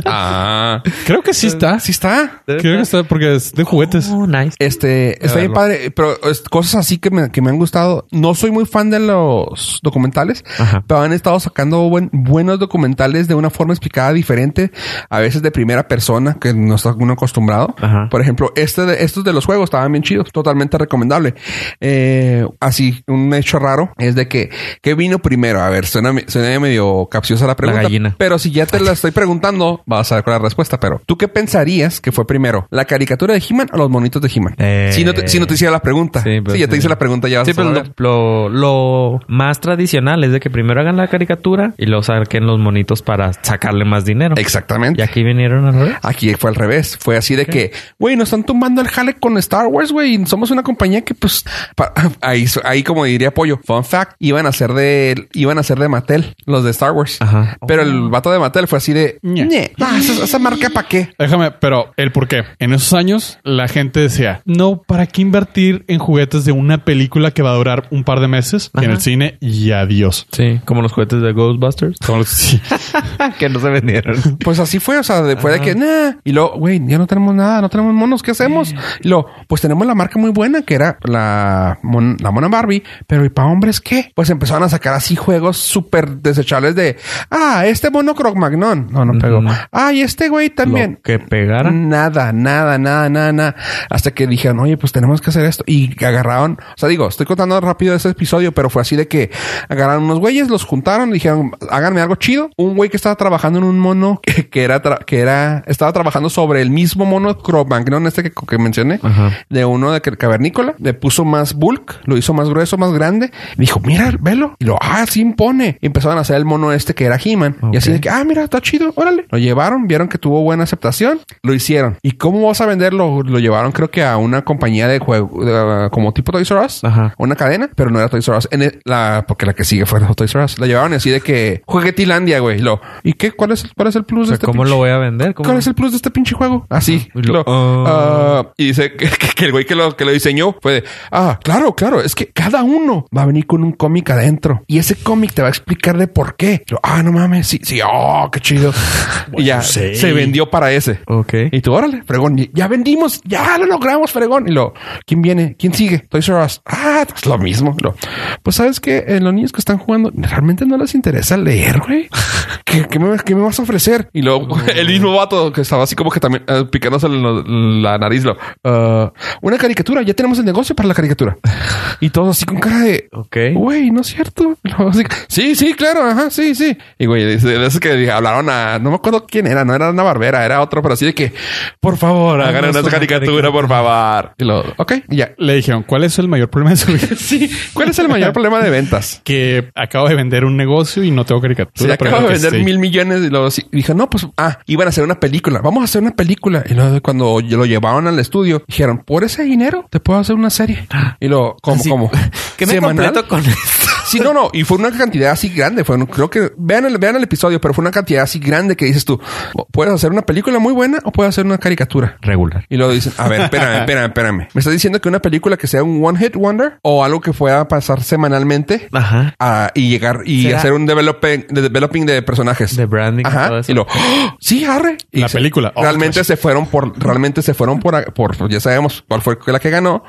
Ah,
Creo que sí está.
sí está.
Creo que está porque es de juguetes.
Oh, nice.
Este, está bien padre, pero es- cosas así que me, que me han gustado. No soy muy fan de los documentales,
Ajá.
pero han estado sacando buen- buenos documentales de una forma explicada diferente, a veces de primera persona, que no está uno acostumbrado.
Ajá.
Por ejemplo, este de, estos de los juegos estaban bien chidos, totalmente recomendable. Eh, así, un hecho raro es de que, ¿qué vino primero? A ver, suena, me- suena medio capciosa la pregunta.
gallina.
Pero si ya te la estoy preguntando, vas a ver cuál es la respuesta. Pero, ¿tú qué pensarías que fue primero? ¿La caricatura de He-Man o los monitos de He-Man?
Eh.
Si, no te, si no te hiciera la pregunta.
Sí, pero
si ya te
sí.
hice la pregunta, ya vas
Sí,
a
pero
saber.
lo, lo- lo más tradicional es de que primero hagan la caricatura y luego saquen los monitos para sacarle más dinero. Y
Exactamente.
aquí vinieron al revés.
Aquí fue al revés. Fue así de que, güey, nos están tumbando el jale con Star Wars, güey. y Somos una compañía que, pues, pa- ahí, ahí como diría Pollo, fun fact, iban a ser de, iban a ser de Mattel, los de Star Wars.
Ajá. Oh.
Pero el vato de Mattel fue así de,
Ñe.
"Ñe, no, esa, esa marca para qué.
Déjame, pero el por qué. En esos años la gente decía, no, ¿para qué invertir en juguetes de una película que va a durar un par de meses en
Ajá.
el cine y adiós?
Sí, como los juguetes de Ghostbusters.
Como los- sí.
Ah, que no se vendieron.
Pues así fue, o sea, de- fue de que, nah. Y luego, güey, ya no tenemos nada, no tenemos monos, ¿qué
Eh.
hacemos? Y luego, pues tenemos la marca muy buena que era la, mon- la mona Barbie, pero ¿y para hombres qué? Pues empezaron a sacar así juegos súper desechables de, ah, este mono Croc Magnon. No, no pegó. Ah, y este güey también. Mm,
Lo que pegara.
Nada, nada, nada, nada, nada. Hasta que dijeron, oye, pues tenemos que hacer esto. Y agarraron, o sea, digo, estoy contando rápido ese episodio, pero fue así de que agarraron unos güeyes, los juntaron, dijeron, háganme algo chido. Un güey que estaba trabajando en un mono que, que era, tra- que era, estaba trabajando sobre el mismo mono Cro-Magnon, este que, que mencioné, de uno de ca- cavernícola, le puso más bulk, lo hizo más grueso, más grande. Dijo, mira, velo. Y lo, ah, sí impone. Y empezaron a hacer el mono este que era He-Man. Y así de que, ah, mira, está chido, órale. Lo llevaron, vieron que tuvo buena aceptación, lo hicieron. ¿Y cómo vas a venderlo? Lo llevaron, creo que a una compañía de juego, de- como tipo Toys R Us,
Ajá.
una cadena, pero no era Toys R Us. En el- la, porque la que sigue fue Toys R Us. La llevaron así de que Juguetilandia, güey. Y Lo, ¿y qué? ¿Cuál es, el- cuál es el plus
O sea,
de este
¿Cómo
pinche-
lo voy a vender? ¿Cómo-
¿Cuál es el plus de este pinche juego? Así.
Y lo-
Lo- ah, y dice que, que- que el güey que lo, que lo diseñó fue de, ah, claro, claro, es que cada uno va a venir con un cómic adentro y ese cómic te va a explicar de por qué. Y lo, ah, no mames, sí, sí, oh, qué chido. y ya
sí.
se vendió para ese.
Ok.
Y tú, órale, fregón, y- ya vendimos, ya lo logramos, fregón. Y lo, ¿quién viene? ¿Quién sigue? Toys R Us. Ah, es lo mismo. Lo, pues sabes que los niños que están jugando realmente no les interesa leer, güey. ¿Qué, qué me, qué me vas a ofrecer? Y luego el mismo vato que estaba así como que también eh, picándose lo- la nariz, lo, "Ah, una caricatura, ya tenemos el negocio para la caricatura. Y todos así con cara de,
Ok.
Güey, ¿no es cierto? No, así que, sí, sí, claro, ajá, sí, sí. Y güey, de de esos que hablaron a, no me acuerdo quién era, no era una barbera, era otro, pero así de que, por favor, hagan
Haznos
una
una
caricatura, por favor. Y lo, ok, y ya.
Le dijeron, ¿cuál es el mayor problema de su vida?
Sí, ¿cuál es el mayor problema de ventas?
Que acabo de vender un negocio y no tengo
Se
caricatura.
le
pero
acaba de
creo que
vender
sí.
mil millones y luego así- y dije, no, pues, ah, iban a hacer una película, vamos a hacer una película. Y luego cuando lo llevaron al estudio, dijeron, por ese dinero te puedo hacer una serie. Y lo, ¿cómo, cómo?
¿Qué me
¿Semanal?
completo con esto?
Sí, no, no. Y fue una cantidad así grande. Fue, un- creo que vean el, vean el episodio, pero fue una cantidad así grande que dices tú, o puedes hacer una película muy buena o puedes hacer una caricatura.
Regular.
Y luego dicen, a ver, espérame, espérame, espérame. ¿Me estás diciendo que una película que sea un one hit wonder o algo que pueda pasar semanalmente
Ajá.
a- y llegar y
Será-
hacer un developing, de developing de personajes?
De branding y
Ajá.
todo eso.
Y lo, ¡oh! sí, arre. Y
La
se-
película. Oh,
realmente se fueron por, realmente se fueron por, por, ya sabemos cuál fue la que ganó.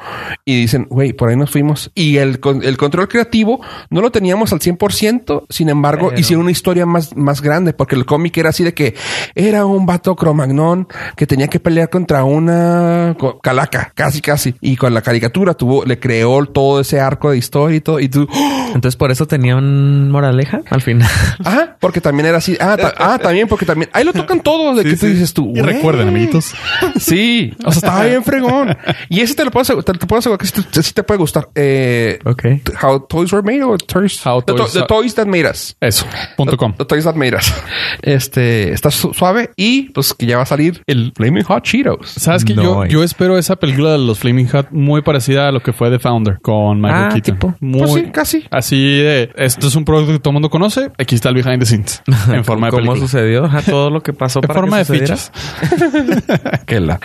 Y dicen, güey, por ahí nos fuimos. Y el, con- el control creativo no lo teníamos al 100%. Sin embargo,
Pero-
hicieron una historia más, más grande porque el cómic era así de que era un vato cromagnón que tenía que pelear contra una co- calaca, casi, casi. Y con la caricatura tuvo, le creó todo ese arco de historia y todo. Y tú, ¡oh!
Entonces, por eso tenían moraleja al final.
Ajá, porque también era así. Ah, ta- ah, también, porque también. Ahí lo tocan todo de que tú dices tú.
Y
güey.
recuerden, amiguitos.
Sí, o sea, estaba bien fregón. Y ese te lo puedo asegu- te, te puedo asegurar que sí te, sí te puede gustar. Eh,
Ok.
How Toys Were Made o Toys.
How
the, to-
Toys
the
Are-
Toys That Made Us.
Eso. Punto com.
The Toys That Made Us. Este está su- suave y pues que ya va a salir el Flaming Hot Cheetos.
Sabes que yo,
Nice.
yo espero esa película de los Flaming Hot muy parecida a lo que fue The Founder con Michael
Ah,
Keaton.
tipo.
Muy,
Pues sí, casi.
Así de esto es un producto que todo el mundo conoce. Aquí está el behind the scenes en forma de
¿Cómo
película.
sucedió? Ajá, todo lo que pasó
En
para
forma
que
de
sucediera.
fichas.
Que la-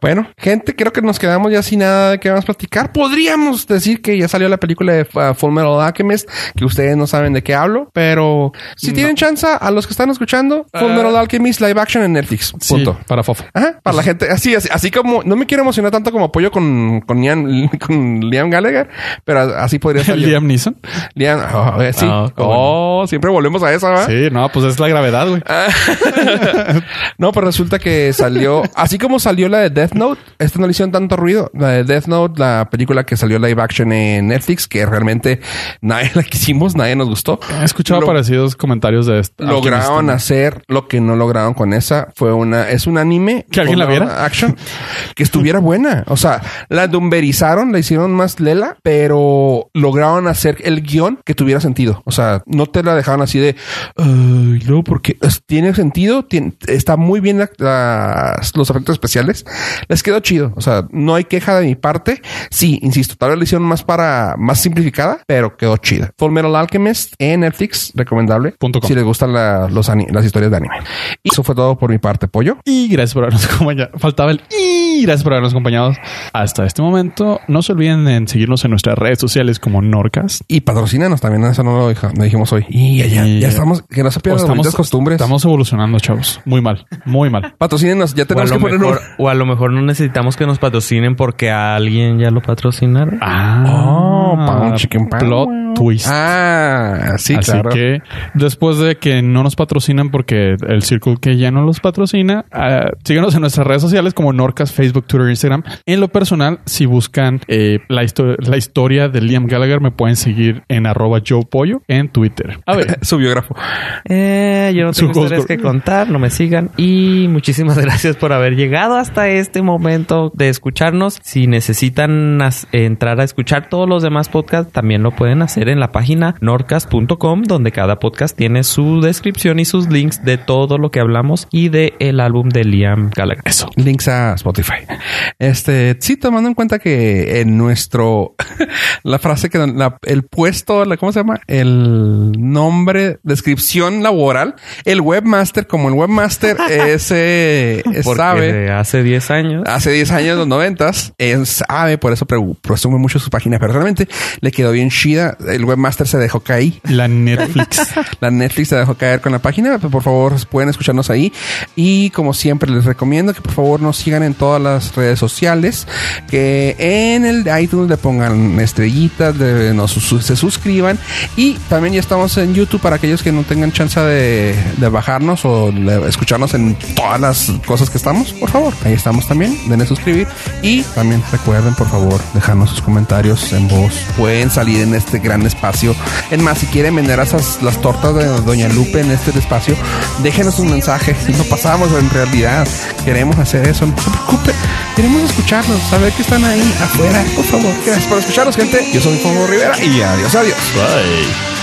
Bueno, gente, creo que nos quedamos ya sin nada de que vamos a platicar. Podríamos decir que ya salió la película de uh, Full Metal Alchemist, que ustedes no saben de qué hablo, pero si tienen chance a los que están escuchando, Full Metal Alchemist live action en Netflix.
Sí,
Punto.
para Fofo.
Ah. Ajá, para la gente, así, así, así como no me quiero emocionar tanto como apoyo con, con, Ian- con Liam Gallagher, pero así podría ser.
El
yo.
Liam Neeson.
Liam, oh, eh, sí.
Ah, cómo
oh, siempre volvemos a esa, ¿verdad?
Sí, no, pues es la gravedad, güey.
Ah, No, pero resulta que salió, así como salió la de Death Note, esta no le hicieron tanto ruido. La de Death Note, la película que salió live action en Netflix, que realmente nadie la quisimos, nadie nos gustó.
He escuchado
Lo-
parecidos comentarios de esto.
lograron hacer lo que no lograron con esa. Fue una, es un anime.
¿Que alguien
con
la
una
viera?
Action. Que estuviera buena. O sea, la dumberizaron, la hicieron más lela, pero lograron hacer el guión que tuviera sentido. O sea, no te la dejaron así de, ay, no, porque es- tiene sentido, tiene- está muy bien la- las- los efectos especiales. Les quedó chido. O sea, no hay queja de mi parte. Sí, insisto, tal vez la hicieron más para, más simplificada, pero quedó quedó chida. Full Metal Alchemist en Netflix, recomendable.
Punto com.
Si les gustan la- los ani- las historias de anime. Y eso fue todo por mi parte, pollo.
Y gracias por habernos acompañado. Faltaba el y gracias por habernos acompañado hasta este momento. No se olviden en seguirnos en nuestras redes sociales como Norcas.
Y patrocínanos también, eso no lo, dij- no dijimos hoy. Y ya, ya,
Y-
ya estamos, que no se pierdan las bonitas costumbres.
estamos evolucionando, chavos. Muy mal, muy mal.
Patrocínenos,
O
ya
a,
tenemos
lo
que poner un-
mejor, o a lo mejor no necesitamos que nos patrocinen porque a alguien ya lo patrocinaron.
Ah,
Oh, pound chicken pound.
plot twist.
Ah, sí,
Así
claro.
que después de que no nos patrocinan porque el círculo que ya no los patrocina, ah, síganos en nuestras redes sociales como Norcas, Facebook, Twitter, Instagram. En lo personal, si buscan eh, la, histo- la historia de Liam Gallagher, me pueden seguir en arroba Joe Pollo en Twitter. A ver,
Su biógrafo.
Eh, yo no
Su
tengo historias
Oscar.
que contar, no me sigan. Y muchísimas gracias por haber llegado hasta este momento de escucharnos. Si necesitan as- entrar a escuchar todos los demás podcasts, también lo pueden hacer en la página norcas.com, donde cada podcast tiene su descripción y sus links de todo lo que hablamos y de el álbum de Liam Gallagher.
eso.
Links a Spotify. Este, sí, tomando en cuenta que en nuestro, la frase que, la- el puesto, la, ¿cómo se llama? El nombre, descripción laboral, el webmaster, como el webmaster ese
Porque
sabe.
de hace 10 años.
Hace 10 años, los 90, él sabe, por eso pre- presume mucho su página, pero realmente le quedó bien chida. El webmaster se dejó caer.
La Netflix.
La Netflix se dejó caer con la página. Por favor, pueden escucharnos ahí. Y como siempre, les recomiendo que por favor nos sigan en todas las redes sociales. Que en el iTunes le pongan estrellitas, de- nos, su- se suscriban. Y también ya estamos en YouTube para aquellos que no tengan chance de, de bajarnos o le- escucharnos en todas las cosas que estamos. Por favor, ahí estamos también. Denle suscribir. Y también recuerden, por favor, dejarnos sus comentarios en voz. Pueden salir en este gran espacio. En más, si quieren vender esas, las tortas de Doña Lupe en este espacio, déjenos un mensaje. Si no pasamos en realidad, queremos hacer eso. No se preocupe. Queremos escucharlos, saber que están ahí afuera. Por favor, gracias por escucharnos, gente. Yo soy Fongo Rivera y adiós, adiós.
Bye.